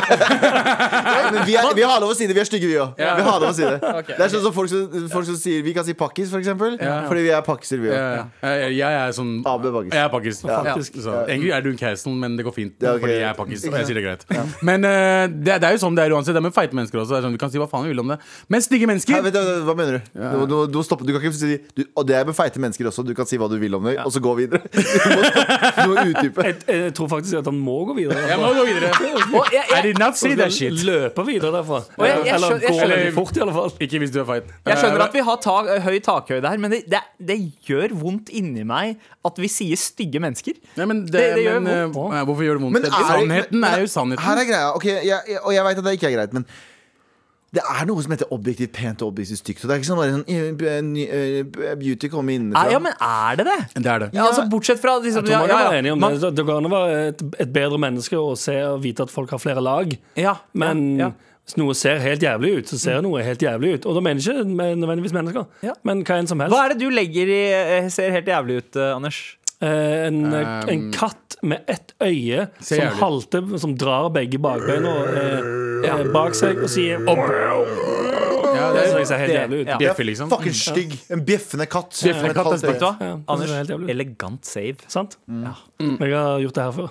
Speaker 5: Nei, men vi, er, vi har lov å si det. Vi er stygge, vi òg.
Speaker 3: Ja.
Speaker 5: Vi har lov å si det. Det er sånn som folk som, folk som sier Vi kan si pakkis, for eksempel.
Speaker 3: Ja.
Speaker 5: Fordi vi er pakkiser, vi òg.
Speaker 3: Ja, ja. Eh, Jeg, jeg er sånn
Speaker 5: Abu er pakkis.
Speaker 3: Jeg er pakkis, faktisk.
Speaker 4: Ja.
Speaker 3: Så, egentlig er du en castle, men det går fint.
Speaker 5: Ja, ok.
Speaker 3: Fordi jeg er pakkis, og
Speaker 5: Ikke
Speaker 3: jeg sier det greit. Men eh, det, det er jo sånn det er uansett. Det er med feite mennesker også. Det er sånn, vi kan si hva faen vi vil om det. Men stygge
Speaker 5: Nei,
Speaker 3: mennesker
Speaker 5: vet du, hva- hva mener du? Du, du, du, må stoppe. du kan ikke si du, Og det er med feite mennesker også. Du kan si hva du vil om det, og så gå videre. Du må, du må utdype.
Speaker 4: Jeg, jeg tror faktisk at han må gå videre.
Speaker 3: Jeg må gå videre.
Speaker 4: Og jeg,
Speaker 3: I did not say that shit.
Speaker 4: Løpe videre derfra.
Speaker 2: jeg- jeg
Speaker 4: Eller
Speaker 2: skjøn- jeg
Speaker 4: gå
Speaker 2: skjønner-
Speaker 4: veldig fort, i alle fall.
Speaker 3: Ikke hvis du er feit. Eh,
Speaker 2: Jeg skjønner at vi har ta eh, høy takhøyde her, men det, det, det gjør vondt inni meg at vi sier stygge mennesker.
Speaker 3: Nei, men det,
Speaker 2: Det- det gjør
Speaker 3: men,
Speaker 2: vondt
Speaker 3: eh,
Speaker 2: også.
Speaker 3: nei, Hvorfor gjør det vondt?
Speaker 5: Men
Speaker 3: Det-
Speaker 5: er-
Speaker 3: sannheten
Speaker 5: men-
Speaker 3: er jo sannheten.
Speaker 5: Her er greia. Ok, jeg, jeg, og jeg veit at det ikke er greit, men det er noe som heter objektivt pent og objektivt stygt. Så det er ikke sånn bare sånn eh, ny- eh, Beauty kommer innenfra.
Speaker 3: Ah,
Speaker 2: Er, ja, men er det det?
Speaker 3: det er det.
Speaker 2: Ja, altså Bortsett fra liksom,
Speaker 4: Jeg tror man
Speaker 2: ja,
Speaker 4: kan
Speaker 2: ja,
Speaker 4: være
Speaker 2: ja.
Speaker 4: enig om
Speaker 2: Man-
Speaker 4: det. Det går an å være et, et bedre menneske og se og vite at folk har flere lag.
Speaker 2: Ja,
Speaker 4: Men
Speaker 2: ja, Mm.
Speaker 4: hvis noe ser helt jævlig ut, så ser noe helt jævlig ut. Og da mener jeg ikke med- nødvendigvis mennesker,
Speaker 2: Ja.
Speaker 4: men hva enn som
Speaker 2: ja.
Speaker 4: helst.
Speaker 2: Hva er det du legger i eh, ser helt jævlig ut, eh, Anders?
Speaker 4: Eh, en, en katt med ett øye
Speaker 3: Ser
Speaker 4: som
Speaker 3: jævlig ut.
Speaker 4: halter, som drar begge bakbeina eh, eh, bak seg og sier opp.
Speaker 3: Ja,
Speaker 4: Det
Speaker 3: det er,
Speaker 4: synes jeg ser helt
Speaker 2: Det-
Speaker 4: jævlig ut.
Speaker 2: ja.
Speaker 3: bjeffer, liksom.
Speaker 5: Fucking stygg. En bjeffende katt.
Speaker 3: Bjeffende
Speaker 5: Med et
Speaker 3: katt er
Speaker 5: halvt øye.
Speaker 2: Vet du hva?
Speaker 4: Ja, det ser helt
Speaker 2: Anders,
Speaker 4: jævlig ut.
Speaker 2: elegant save.
Speaker 4: Sant?
Speaker 3: Mm.
Speaker 4: Mm. Jeg har gjort det her før.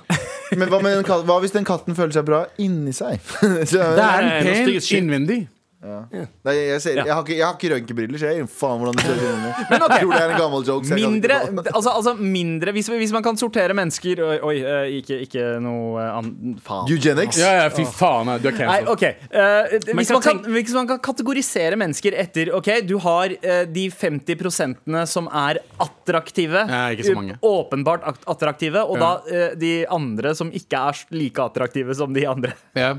Speaker 5: Men hva, med den katten, hva hvis den katten føler seg bra inni seg? Så-
Speaker 3: det
Speaker 4: Nei,
Speaker 3: er
Speaker 4: nå
Speaker 3: en
Speaker 4: styrer
Speaker 3: pen
Speaker 4: shit.
Speaker 3: innvendig.
Speaker 5: Nei, jeg, ser, jeg har ikke, jeg har ikke røntgenbriller, så jeg gir faen hvordan det ser ut inni. Jeg Tror det er en gammel joke. så jeg kan
Speaker 2: Mindre,
Speaker 5: ikke ta-
Speaker 2: altså, altså mindre hvis, hvis man kan sortere mennesker Oi, oi eh, ikke, ikke noe annet Faen.
Speaker 5: Eugenics?
Speaker 3: Ja, ja, fy faen, nei, altså. du er
Speaker 2: Nei,
Speaker 3: cancelled.
Speaker 2: ok Eh, hvis,
Speaker 4: kan
Speaker 2: man kan, hvis man kan kategorisere mennesker etter Ok, du har eh, de 50 prosentene som er attraktive
Speaker 3: Nei, ikke så mange.
Speaker 2: u- Åpenbart at- attraktive Og da eh, de andre som ikke er s- like attraktive som de andre
Speaker 3: Ja.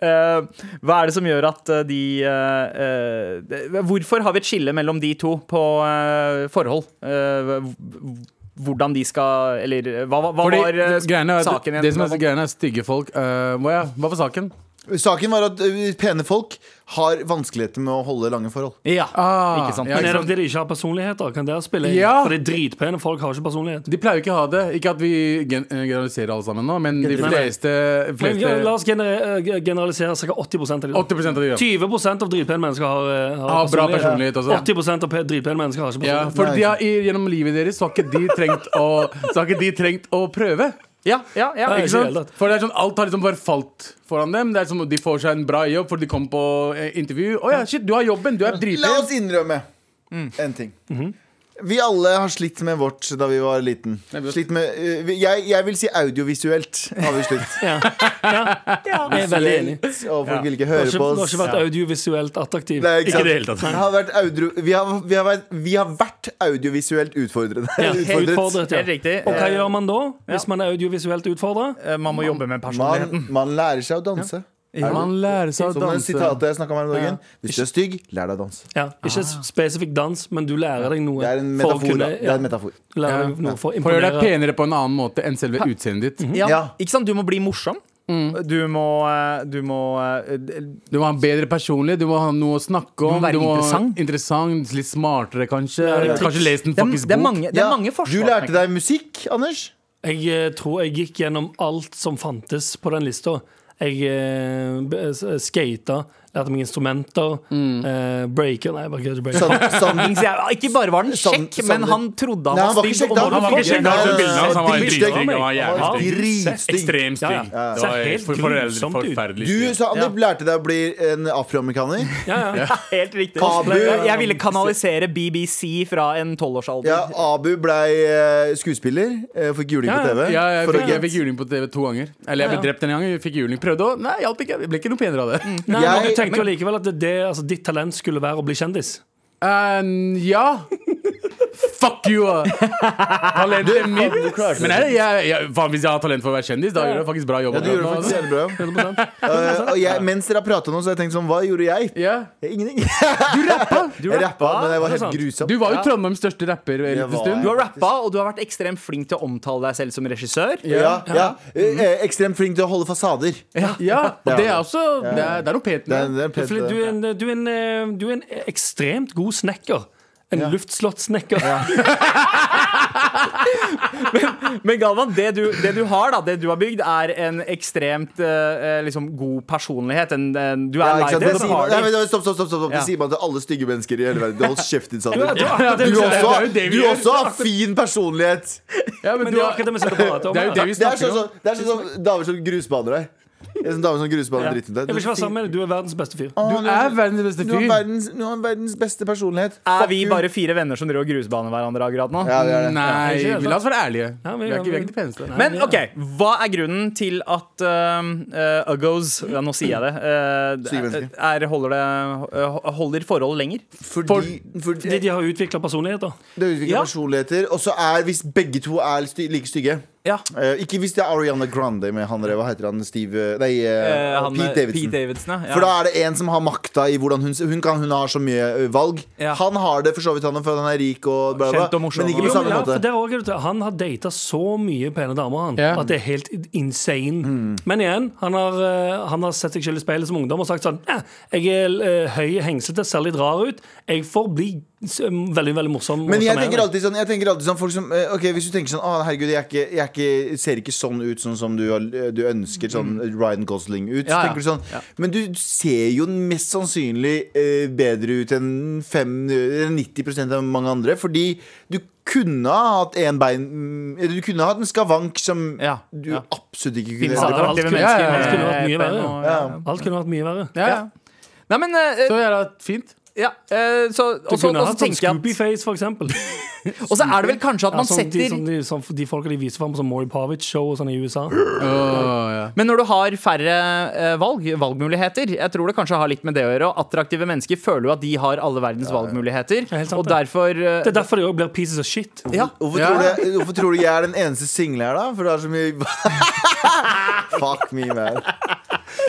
Speaker 2: Eh, Hva er det som gjør at eh, de eh, eh, det- Hvorfor har vi et skille mellom de to på eh, forhold? Eh, hv- hvordan de skal Eller eh, hva, hva
Speaker 3: Fordi
Speaker 2: var eh,
Speaker 3: greiene er,
Speaker 2: saken
Speaker 3: det, det som er så greiene er stygge folk. eh, hva, ja, hva var saken?
Speaker 5: Saken var at ø, pene folk har vanskeligheter med å holde lange forhold.
Speaker 2: Ja,
Speaker 3: Ah,
Speaker 2: ikke sant?
Speaker 3: ja,
Speaker 4: Men
Speaker 3: ikke
Speaker 4: er det
Speaker 3: sant?
Speaker 4: fordi de ikke har personligheter? Kan dere spille inn?
Speaker 3: Ja.
Speaker 4: Fordi dritpene folk har ikke personlighet.
Speaker 3: De pleier jo ikke å ha det. Ikke at vi gen eh, generaliserer alle sammen nå, men de
Speaker 4: Nei, nei.
Speaker 3: fleste,
Speaker 4: Men, ja, la
Speaker 3: fleste
Speaker 4: oss genere- eh, generalisere ca. 80 av de.
Speaker 3: 80 av de gjør
Speaker 4: 20 av dritpene mennesker har, eh, har
Speaker 3: Har bra personlighet også.
Speaker 4: 80 av pe- dritpene mennesker har ikke
Speaker 3: ja,
Speaker 4: personlighet.
Speaker 3: For de har, i, gjennom livet deres så har ikke de trengt å, så har ikke de trengt å prøve.
Speaker 2: ja, ja, ja,
Speaker 4: Nei, ikke
Speaker 3: Ikke
Speaker 4: i det hele
Speaker 3: sant?
Speaker 4: tatt.
Speaker 3: For det er sånn, Alt har liksom bare falt foran dem. Det er som om De får seg en bra jobb fordi de kom på eh, intervju. Å ja, shit, du har jobben! Du er
Speaker 5: La
Speaker 3: dritfin!
Speaker 5: oss innrømme
Speaker 4: Mm.
Speaker 5: en ting.
Speaker 4: Mhm.
Speaker 5: Vi alle har slitt med vårt da vi var liten. Slitt med, ø, vi- jeg, jeg vil si audiovisuelt har vi slitt.
Speaker 4: Jeg er veldig enig.
Speaker 5: Og folk vil ikke
Speaker 4: Det har
Speaker 5: høre
Speaker 4: ikke,
Speaker 5: på
Speaker 4: det har
Speaker 5: oss.
Speaker 4: ikke vært audiovisuelt attraktiv.
Speaker 5: Nei, ikke sant?
Speaker 4: det hele tatt.
Speaker 5: Det har vært audro- vi, har, vi, har vært, vi har vært audiovisuelt utfordrende.
Speaker 4: Ja,
Speaker 5: Utfordret.
Speaker 4: utfordret, ja.
Speaker 2: Helt riktig.
Speaker 4: Og hva gjør man da, hvis man er audiovisuelt utfordra?
Speaker 2: Eh, Man må jobbe med personligheten.
Speaker 5: Man, man lærer seg å danse.
Speaker 3: Man lærer seg å
Speaker 5: Som den
Speaker 3: danse.
Speaker 5: sitatet jeg snakket om her om dagen. Hvis du er stygg, lær deg å danse.
Speaker 4: Ja, ikke spesifikk dans, men du lærer deg noe
Speaker 5: Ah. Det er en
Speaker 4: for å
Speaker 5: metafor.
Speaker 4: kunne
Speaker 5: da. Det
Speaker 4: ja,
Speaker 5: er en metafor.
Speaker 4: lærer deg noe for å
Speaker 3: For å gjøre deg
Speaker 4: imponere.
Speaker 3: penere på en annen måte enn selve utseendet ditt.
Speaker 2: Ja.
Speaker 5: Mm. Ja.
Speaker 2: Ikke sant? Du må bli morsom. Du må, eh, du må eh, d-
Speaker 3: Du må ha en bedre personlig, du må ha noe å snakke om.
Speaker 2: må være interessant.
Speaker 3: interessant, Litt smartere, kanskje.
Speaker 4: Ja, ja.
Speaker 3: Kanskje lest en
Speaker 2: eh, Det er,
Speaker 3: fuckings
Speaker 2: det er
Speaker 3: bok.
Speaker 2: mange, det er
Speaker 5: Ja,
Speaker 2: mange
Speaker 5: Du
Speaker 2: forslag.
Speaker 5: lærte deg musikk, Anders?
Speaker 4: Jeg eh, tror jeg gikk gjennom alt som fantes på den lista. Jeg eh, b- s- skata, lærte meg instrumenter,
Speaker 3: Mm.
Speaker 4: eh, breaker Nei, jeg bare gøy, breaker.
Speaker 5: Sand, sand,
Speaker 2: Things jeg- Ikke bare var han
Speaker 5: Sand-
Speaker 2: kjekk, men
Speaker 5: Sander-
Speaker 2: han trodde han
Speaker 5: Nei,
Speaker 2: var
Speaker 5: han var ikke
Speaker 2: stygg.
Speaker 5: kjekk da.
Speaker 2: og
Speaker 5: Han var ikke kjekk da.
Speaker 2: morsom.
Speaker 5: Det er bildene hans,
Speaker 3: han var
Speaker 5: dritstygg.
Speaker 3: dritstygg. Han var jævlig
Speaker 5: Han var
Speaker 3: stygg.
Speaker 5: dritstygg.
Speaker 3: Ekstremt
Speaker 4: Ja, ja.
Speaker 3: stygg. Det
Speaker 4: Ser
Speaker 3: var
Speaker 4: helt
Speaker 3: for- for-
Speaker 4: grusomt ut.
Speaker 3: forferdelig
Speaker 5: Du
Speaker 3: stygg.
Speaker 5: sa, Anders, lærte deg å bli en afroamerikaner.
Speaker 4: Ja, ja.
Speaker 2: Helt riktig.
Speaker 5: Abu.
Speaker 2: Jeg jeg ville kanalisere BBC fra en tolvårsalder.
Speaker 5: Ja, Abu blei eh, skuespiller. eh, Fikk juling på
Speaker 4: Ja,
Speaker 5: TV.
Speaker 3: Ja, jeg
Speaker 5: for å
Speaker 3: fikk, jeg fikk juling på TV to ganger. Eller jeg ble drept en gang. Jeg fikk juling, Prøvde å Nei, hjalp ikke. Jeg ble ikke noe penere av det.
Speaker 4: Nei,
Speaker 5: Jeg-
Speaker 4: men du tenkte jo likevel at det, det, altså, ditt talent skulle være å bli kjendis.
Speaker 5: Mm.
Speaker 3: Eh, ja. Fuck you! ah. Talentet mitt.
Speaker 5: klarte
Speaker 3: Men jeg, jeg, jeg, faen, hvis jeg har talent for å være kjendis, da gjør jeg faktisk bra jobb.
Speaker 5: Ja, du gjorde det faktisk jævlig bra.
Speaker 4: 100%.
Speaker 5: Eh, og jeg, mens dere har prata nå, så har jeg tenkt sånn, hva gjorde jeg?
Speaker 3: ja.
Speaker 5: Jeg- Ingenting. Du rappa! Jeg rappa, men jeg var helt grusom.
Speaker 3: Du var jo Trondheims største rapper en
Speaker 5: Jeg
Speaker 3: liten
Speaker 5: var-
Speaker 3: stund.
Speaker 2: Du har rappa, og du har vært ekstremt flink til å omtale deg selv som regissør.
Speaker 5: ja, ja. Eh, Ekstremt flink til å holde fasader. Det
Speaker 3: Ja, og det er
Speaker 5: Ja.
Speaker 3: også Det er, det er noe pent
Speaker 5: er,
Speaker 3: med det.
Speaker 5: det er pent,
Speaker 4: Fordi du
Speaker 5: det.
Speaker 4: er, en, du, er en, eh, du er en ekstremt god snekker. En luftslottsnekker.
Speaker 2: Men Galvan, det du, det du har, da, det du har bygd, er en ekstremt eh, liksom, god personlighet. En, en, du
Speaker 5: Ja,
Speaker 2: er
Speaker 5: ikke
Speaker 2: leider,
Speaker 5: sant? Det
Speaker 2: og
Speaker 5: sier man-
Speaker 2: har
Speaker 5: Nei, men
Speaker 2: du
Speaker 5: stopp, stopp, stopp, stopp, stopp. Det
Speaker 2: Ja.
Speaker 5: sier man til alle stygge mennesker i hele verden. Hold kjeft, din Sander. Du
Speaker 4: Ja, det er jo det-
Speaker 5: også,
Speaker 4: det er jo det vi
Speaker 5: du
Speaker 4: gjør.
Speaker 5: også har fin personlighet.
Speaker 3: Ja, men
Speaker 4: Men det
Speaker 3: du
Speaker 4: er
Speaker 3: har-
Speaker 4: akkurat det vi sitter og prater om.
Speaker 3: Det er jo det vi
Speaker 5: Det er
Speaker 3: snakker
Speaker 5: sånn
Speaker 3: om.
Speaker 5: som det er sånn som damer som grusbaner deg. Det er sånn damer som grusbaner
Speaker 4: Ja.
Speaker 5: dritten deg.
Speaker 4: Jeg vil ikke være sammen med deg. Du er verdens beste fyr.
Speaker 5: Å,
Speaker 3: Du er verdens beste
Speaker 5: du har
Speaker 3: fyr.
Speaker 5: verdens, du har verdens beste personlighet.
Speaker 2: Er
Speaker 5: Fuck
Speaker 2: vi
Speaker 5: you.
Speaker 2: bare fire venner som driver og grusbaner hverandre akkurat nå?
Speaker 5: Ja, det er det. altså.
Speaker 3: Nei,
Speaker 4: ikke helt
Speaker 3: vi la oss være ærlige.
Speaker 4: Ja,
Speaker 3: Vi
Speaker 4: vi-
Speaker 3: er ikke, vi er ikke de peneste.
Speaker 4: Nei.
Speaker 2: Men OK, hva er grunnen til at eh, eh, Uggos ja, Nå sier jeg det. eh,
Speaker 5: Syke mennesker.
Speaker 2: er, holder, det eh, holder forholdet lenger?
Speaker 5: Fordi,
Speaker 4: Fordi
Speaker 5: fordi
Speaker 4: de har utvikla personligheter.
Speaker 5: det utvikler
Speaker 2: Ja.
Speaker 5: personligheter. Og så er hvis begge to er sty like stygge
Speaker 2: Ja.
Speaker 5: Eh, Ikke hvis det er Ariana Grande med han der, hva heter han, Steve Nei, eh, Pete Davidson.
Speaker 2: Pete Davidson ja.
Speaker 5: For da er det en som har makta i hvordan hun Hun, kan, hun har så mye ø, valg.
Speaker 2: Ja.
Speaker 5: Han har det for så vidt, han, for han er rik og bla, bla,
Speaker 2: Kjent og morsom,
Speaker 5: men ikke
Speaker 2: og-
Speaker 5: på
Speaker 4: Jo,
Speaker 5: samme
Speaker 4: men ja, for
Speaker 5: måte.
Speaker 4: der også er det, han har data så mye pene damer han,
Speaker 3: Ja.
Speaker 4: at det er helt insane.
Speaker 5: Mm.
Speaker 4: Men igjen, han har, eh, han har sett seg selv i speilet som ungdom og sagt sånn eh, Jeg er eh, høy, hengslete, ser litt rar ut. Jeg får bli s- veldig veldig morsom. og
Speaker 5: Men jeg
Speaker 4: sjarmerende.»
Speaker 5: tenker alltid sånn, jeg tenker alltid sånn folk som, eh, Ok, Hvis du tenker sånn Å, herregud, jeg, er ikke, jeg er ikke, ser ikke sånn ut sånn som du, har- du ønsker sånn Ryan Gosling ut.
Speaker 2: Mm. Ja,
Speaker 5: så
Speaker 2: ja.
Speaker 5: tenker du sånn, Men du ser jo mest sannsynlig eh, bedre ut enn fem, eller 90 av mange andre. Fordi du kunne ha hatt en bein mm, eller Du kunne ha hatt en skavank som
Speaker 2: Ja,
Speaker 5: du
Speaker 2: ja.
Speaker 5: absolutt ikke kunne
Speaker 2: Finnes
Speaker 5: ha.
Speaker 4: Ja, det
Speaker 2: alternativet
Speaker 4: var alt
Speaker 2: mennesker
Speaker 4: kunne- kunne
Speaker 3: alt
Speaker 4: vært
Speaker 2: med
Speaker 4: mye verre.
Speaker 2: pen og-
Speaker 5: Ja.
Speaker 4: Alt kunne vært mye verre.
Speaker 3: Ja, ja.
Speaker 2: Nei, men eh,
Speaker 3: Så jævla fint.
Speaker 2: Ja, eh, så,
Speaker 4: Du
Speaker 2: også,
Speaker 4: kunne
Speaker 2: også
Speaker 4: hatt sånn
Speaker 2: tenker jeg at
Speaker 4: Scoopy-face, for eksempel.
Speaker 2: Og så er det vel kanskje at
Speaker 4: Ja,
Speaker 2: man
Speaker 4: sånn, de,
Speaker 2: setter
Speaker 4: sånn, de, sånn, de folka de viser fram på sånn Maury Pavic-show og sånn i USA.
Speaker 3: Åh, ja.
Speaker 2: Men når du har færre eh, valg, valgmuligheter Jeg tror det kanskje har litt med det å gjøre. og Attraktive mennesker føler jo at de har alle verdens valgmuligheter.
Speaker 4: er helt sant,
Speaker 2: Og
Speaker 4: det.
Speaker 2: derfor eh,
Speaker 4: Det er derfor de også blir pieces of shit.
Speaker 2: ja.
Speaker 5: Hvorfor,
Speaker 3: Ja.
Speaker 5: tror du, hvorfor tror du jeg er den eneste single her, da? For det er så mye Fuck me, man.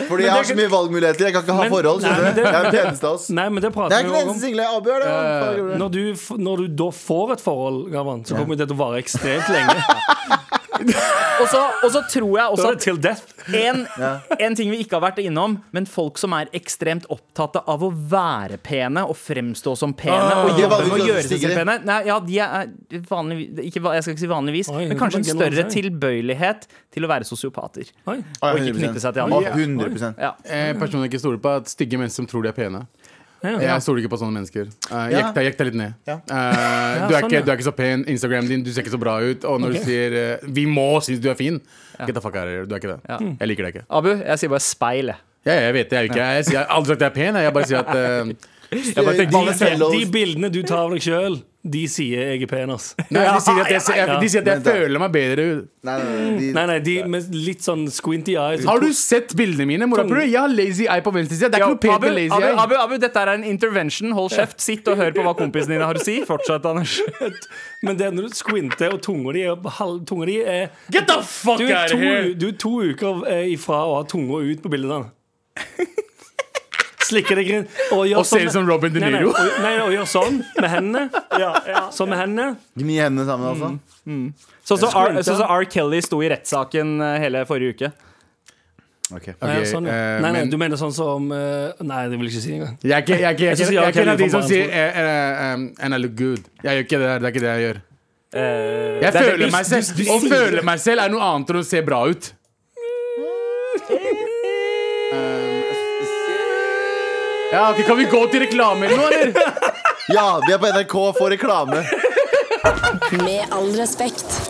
Speaker 5: Fordi jeg har så mye valgmuligheter. Jeg kan ikke ha
Speaker 4: Men-
Speaker 5: forhold.
Speaker 4: Nei,
Speaker 5: skjønner
Speaker 4: men
Speaker 5: du?
Speaker 4: det-
Speaker 5: Jeg er den eneste av oss.
Speaker 4: Nei, men det
Speaker 5: Jeg
Speaker 4: prater
Speaker 5: er
Speaker 4: vi
Speaker 5: ikke den
Speaker 4: også om.
Speaker 5: eneste single. Abu er det. Faen, gjorde det.
Speaker 4: Når du, f- når du da får et forhold, Gavan, så kommer det til å vare ekstremt lenge.
Speaker 2: og, så, og så tror jeg
Speaker 4: Da
Speaker 2: også
Speaker 4: er det
Speaker 2: at
Speaker 4: til death.
Speaker 2: en, en ting vi ikke har vært innom, men folk som er ekstremt opptatt av å være pene og fremstå som pene og
Speaker 5: de er
Speaker 2: jobbe med å
Speaker 5: vanligvis
Speaker 2: gjøre seg selv
Speaker 5: stikkere.
Speaker 2: pene Nei, ja, de er vanligvis ikke, va- Jeg skal ikke si vanligvis,
Speaker 4: Oi,
Speaker 2: men kanskje en
Speaker 4: det var ikke
Speaker 2: større
Speaker 4: noe å si.
Speaker 2: tilbøyelighet til å være sosiopater.
Speaker 4: Oi.
Speaker 2: Og ikke knytte seg til
Speaker 5: Å,
Speaker 2: andre.
Speaker 5: 100
Speaker 2: Ja.
Speaker 3: Eh, Personer jeg ikke stoler på, er stygge mennesker som tror de er pene.
Speaker 4: Ja.
Speaker 3: Jeg stoler ikke på sånne mennesker. Eh,
Speaker 5: Ja.
Speaker 3: Jekk deg jekk deg litt ned.
Speaker 5: Ja.
Speaker 3: Eh, du, er
Speaker 4: sånn,
Speaker 3: ikke,
Speaker 4: ja.
Speaker 3: du er ikke så pen. Instagram din, du ser ikke så bra ut. Og når
Speaker 4: Ok.
Speaker 3: du sier eh, 'vi må synes du er fin', get the fuck out of here. Du er ikke det. Jeg liker deg ikke.
Speaker 2: Abu, jeg sier bare speil, jeg.
Speaker 3: Ja, jeg vet det. Jeg, er jo ikke, jeg, sier- jeg har aldri sagt jeg er pen. Jeg bare sier at eh,
Speaker 5: Jeg bare
Speaker 4: De, de bildene du tar av deg sjøl, de sier 'jeg er pen', ass.
Speaker 3: Nei, de sier at jeg, ser- jeg, de sier at jeg
Speaker 5: Vent da.
Speaker 3: føler meg bedre ut.
Speaker 5: Nei, nei, nei,
Speaker 4: Nei,
Speaker 5: de-
Speaker 4: nei, de med litt sånn squinty eyes.
Speaker 3: Har du sett bildene mine? Morapuler? Jeg har lazy eye på venstre side. Det er ikke noe
Speaker 2: Ja,
Speaker 3: pent
Speaker 2: Abu,
Speaker 3: med lazy
Speaker 2: Abu,
Speaker 3: eye.
Speaker 2: Abu, Abu, dette er en intervention. Hold kjeft, sitt og hør på hva kompisen din har å si. Fortsett, Anders.
Speaker 4: Men det er når du squinter, og tunga di er, halv- tunga di er
Speaker 2: Get the fuck
Speaker 4: du er, to, du er to uker eh, ifra å ha tunga ut på bildene. Slikke deg inn. Og, gjør
Speaker 3: Og ser
Speaker 4: sånn-
Speaker 3: ut som Robin De
Speaker 4: Nei, nei,
Speaker 3: Niro.
Speaker 4: og- Nei, nei, og gjør sånn med hendene. Sånn med hendene.
Speaker 5: Gni hendene sammen, altså.
Speaker 2: Sånn som R, sånn som R. Kelly sto i rettssaken eh, hele forrige uke.
Speaker 5: Ok.
Speaker 4: Ja,
Speaker 3: Ok,
Speaker 4: sånn, ja. nei,
Speaker 3: eh,
Speaker 4: nei,
Speaker 3: men-
Speaker 4: du mener sånn som eh, Nei, det vil jeg ikke si engang.
Speaker 3: Jeg er ikke, jeg er ikke, jeg er
Speaker 4: Jeg synes jeg
Speaker 3: ikke, jeg er
Speaker 4: har
Speaker 3: ikke en av de
Speaker 4: Kelly
Speaker 3: som
Speaker 4: for
Speaker 3: sier
Speaker 4: barn,
Speaker 3: eh, eh, um, And I look good. Jeg gjør ikke det der. Det er ikke det jeg gjør.
Speaker 2: Eh,
Speaker 3: Jeg
Speaker 2: det er det
Speaker 3: føler
Speaker 2: du-
Speaker 3: meg selv.
Speaker 2: du- du
Speaker 3: Å
Speaker 2: sier-
Speaker 3: føle meg selv er noe annet enn å se bra ut.
Speaker 2: Um,
Speaker 3: Ja, ok, Kan vi gå til reklame eller noe, eller?
Speaker 5: Ja, vi er på NRK for reklame.
Speaker 6: Med all respekt.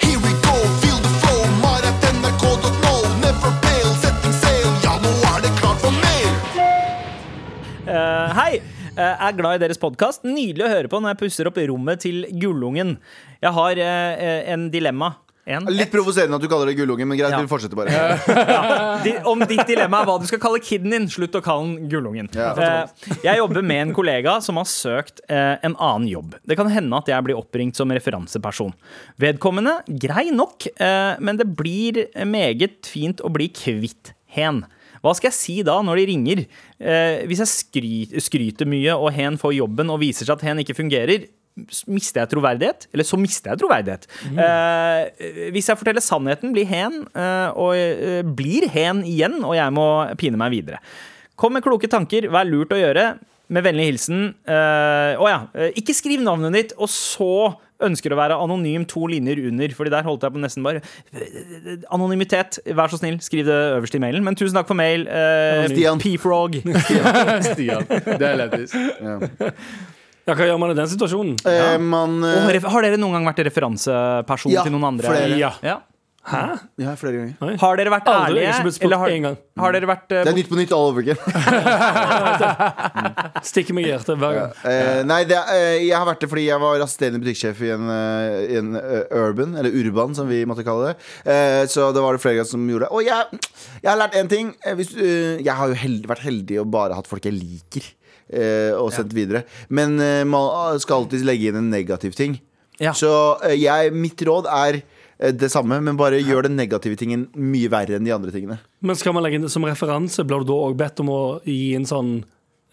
Speaker 7: Here we go, feel the flow, maratnrk.no. Never fail, setting sail. Ja, nå er det klart for mer.
Speaker 2: Eh, hei! Eh, er glad i deres podkast. Nydelig å høre på når jeg pusser opp rommet til gullungen. Jeg har eh, eh, en dilemma. En.
Speaker 5: Litt provoserende at du kaller det gullungen, men greit,
Speaker 2: Ja.
Speaker 5: vi fortsetter bare.
Speaker 2: Di- Om ditt dilemma er hva du skal kalle kiden din, slutt å kalle den gullungen.
Speaker 5: Ja.
Speaker 2: Eh, jeg jobber med en kollega som har søkt eh, en annen jobb. Det kan hende at jeg blir oppringt som referanseperson. Vedkommende, grei nok, eh, men det blir meget fint å bli kvitt hen. Hva skal jeg si da, når de ringer? Eh, hvis jeg skry- skryter mye, og hen får jobben, og viser seg at hen ikke fungerer, s- mister jeg troverdighet? Eller så mister jeg troverdighet. Eh, hvis jeg forteller sannheten, blir hen, eh, og eh, blir hen igjen, og jeg må pine meg videre. Kom med kloke tanker, vær lurt å gjøre. Med vennlig hilsen eh, Å ja. eh, Ikke skriv navnet ditt, og så ønsker å være anonym to linjer under. Fordi der holdt jeg på nesten bare Anonymitet, vær så snill, skriv det øverst i mailen. Men tusen takk for mail, eh,
Speaker 5: Stian.
Speaker 2: P-frog.
Speaker 3: Stian. Det er lættis.
Speaker 4: Ja, Hva gjør man i den situasjonen?
Speaker 5: Eh, man eh,
Speaker 2: Og ref- Har dere noen gang vært referanseperson
Speaker 5: Ja,
Speaker 2: til noen andre?
Speaker 5: flere.
Speaker 2: Ja. Ja.
Speaker 4: Hæ?
Speaker 5: Ja, flere ganger.
Speaker 2: Har dere vært
Speaker 4: Aldri jeg
Speaker 2: ærlige?
Speaker 4: har ikke blitt spurt
Speaker 2: eller har,
Speaker 4: en gang.
Speaker 2: har dere vært eh,
Speaker 5: Det er Nytt på Nytt all over again.
Speaker 4: Stikker meg i hjertet hver gang.
Speaker 5: Eh, nei, det, er- eh, jeg har vært det fordi jeg var assisterende butikksjef i en, eh, i en eh, urban, eller urban som vi måtte kalle det. Eh, så da var det flere ganger som gjorde det. Og jeg, jeg har lært én ting. Eh, Hvis, eh, jeg har jo held, vært heldig og bare hatt folk jeg liker, eh, og sendt videre. Men eh, man skal alltid legge inn en negativ ting.
Speaker 2: Ja.
Speaker 5: Så eh, jeg, mitt råd er eh, det samme, men bare gjør den negative tingen mye verre enn de andre tingene.
Speaker 4: Men skal man legge inn det som referanse, blir du da òg bedt om å gi en sånn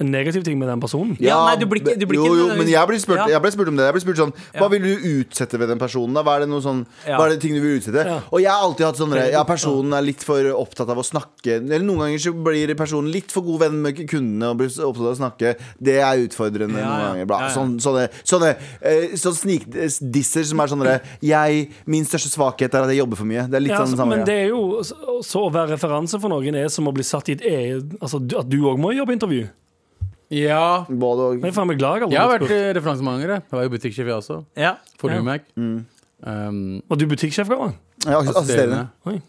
Speaker 4: en negativ ting med den personen?
Speaker 2: Ja, nei, du blir ikke- du blir
Speaker 5: jo,
Speaker 2: ikke-
Speaker 5: jo, men jeg ble, spurt,
Speaker 2: Ja.
Speaker 5: jeg ble spurt om det. Jeg ble spurt sånn Hva
Speaker 2: Ja.
Speaker 5: vil du utsette ved den personen? da? Hva er det, noe sånn,
Speaker 2: Ja.
Speaker 5: hva er det ting du vil utsette?
Speaker 4: Ja.
Speaker 5: Og jeg har alltid hatt sånn der, Ja, personen er litt for opptatt av å snakke. Eller noen ganger så blir personen litt for god venn med kundene og blir så opptatt av å snakke. Det er utfordrende
Speaker 2: Ja,
Speaker 5: noen
Speaker 2: ja.
Speaker 5: ganger. Bla.
Speaker 2: Ja, ja.
Speaker 5: Sånn, sånne sånne, eh, sånn snikdisser som er sånn der, jeg, Min største svakhet er at jeg jobber for mye. Det er litt
Speaker 4: Ja,
Speaker 5: sånn det samme.
Speaker 4: altså,
Speaker 5: greia.
Speaker 4: men det er jo så, så å være referanse for noen er som å bli satt i et eget altså, du- At du òg må i jobbintervju.
Speaker 3: Ja.
Speaker 5: Både og.
Speaker 4: Men jeg er faen meg glad jeg aldri
Speaker 3: Jeg har
Speaker 4: ble
Speaker 3: vært
Speaker 4: spurt.
Speaker 3: eh, referansemanger. Jeg Jeg var jo butikksjef, jeg også.
Speaker 2: Ja.
Speaker 3: For
Speaker 4: Ja.
Speaker 3: Numac.
Speaker 2: Mm.
Speaker 3: Um,
Speaker 4: Var du butikksjef, Gavan?
Speaker 5: Ja, assisterende.
Speaker 4: Oi.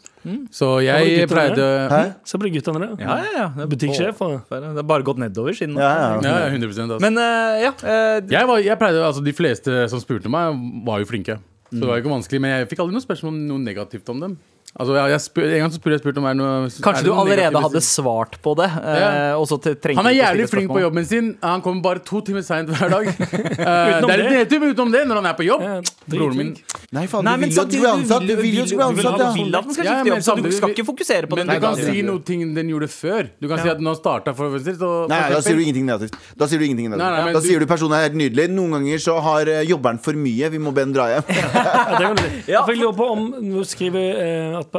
Speaker 4: Har
Speaker 3: Så
Speaker 4: du
Speaker 3: jeg
Speaker 4: gutter
Speaker 3: pleide
Speaker 5: Hæ?
Speaker 4: Se på de guttene der.
Speaker 2: Ja, ja, ja. Det er
Speaker 4: Butikksjef. Og,
Speaker 2: bare- Det har bare gått nedover siden.
Speaker 5: Ja, ja.
Speaker 3: Ja, ja, 100 altså.
Speaker 2: Men eh, ja. eh,
Speaker 3: jeg, var, jeg pleide, altså De fleste som spurte meg, var jo flinke. Så det var jo ikke vanskelig, Men jeg fikk aldri noe spørsmål om noe negativt om dem. Altså, jeg, jeg spør, En gang så spurte jeg spurte om er det noe, er
Speaker 2: Kanskje
Speaker 3: det
Speaker 2: du
Speaker 3: noe
Speaker 2: allerede
Speaker 3: negativt-
Speaker 2: hadde svart på det. eh,
Speaker 3: Ja.
Speaker 2: og så til- trengte
Speaker 3: Han er
Speaker 2: du ikke å
Speaker 3: jævlig
Speaker 2: stille
Speaker 3: flink på
Speaker 2: spørsmål.
Speaker 3: jobben sin. Han kommer bare to timer seint hver dag. Eh, det er
Speaker 4: det.
Speaker 3: litt nedtur, men utenom det, når han er på jobb
Speaker 4: Ja,
Speaker 3: Broren min
Speaker 5: Nei, faen,
Speaker 2: Nei,
Speaker 5: du
Speaker 2: men
Speaker 5: vil jo at du
Speaker 2: samtidig,
Speaker 5: blir ansatt. Du vil jo at du blir
Speaker 2: du vil ha-
Speaker 5: ansatt, ja.
Speaker 2: vil at den skal
Speaker 3: Ja,
Speaker 2: skifte
Speaker 3: men
Speaker 2: jobb, så du
Speaker 3: samtidig-
Speaker 2: skal ikke fokusere på den.
Speaker 3: Men du kan
Speaker 5: det er
Speaker 3: si
Speaker 5: det.
Speaker 3: noen ting den gjorde før. Du kan si at den har starta for for eksempel, så-
Speaker 5: Nei, altså, da
Speaker 3: for
Speaker 5: sier du
Speaker 3: eksempel-
Speaker 5: ingenting negativt. Da sier du ingenting negativt
Speaker 3: Nei, nei, men
Speaker 5: Da
Speaker 3: du-
Speaker 5: sier du personen er helt nydelig. Noen ganger så har eh, jobberen for mye. Vi må be den dra hjem.
Speaker 4: Ja, det kan du si. For Jeg lurer på om Nå skriver eh, at eh,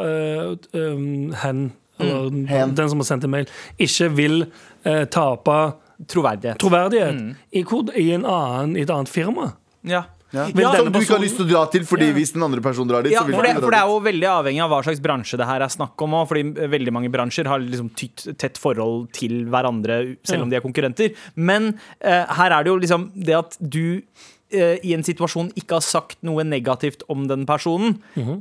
Speaker 4: um, hen, eller
Speaker 5: hen.
Speaker 4: den som har sendt en mail, ikke vil eh, tape
Speaker 2: Troverdighet.
Speaker 4: troverdighet i, hvor, i, en annen, i et annet firma.
Speaker 2: Ja.
Speaker 5: Ja.
Speaker 4: Vil
Speaker 5: Som
Speaker 4: denne
Speaker 5: du ikke har
Speaker 4: personen-
Speaker 5: lyst til å dra til, Fordi
Speaker 4: Ja.
Speaker 5: hvis den andre personen drar dit,
Speaker 2: Ja,
Speaker 5: så vil
Speaker 2: for det,
Speaker 5: ikke
Speaker 2: for det
Speaker 5: dra
Speaker 2: er
Speaker 5: dit.
Speaker 2: jo veldig avhengig av hva slags bransje det her er snakk om òg. Fordi veldig mange bransjer har liksom tytt, tett forhold til hverandre, selv om de er konkurrenter. Men eh, her er det jo liksom det at du eh, i en situasjon ikke har sagt noe negativt om den personen, eh,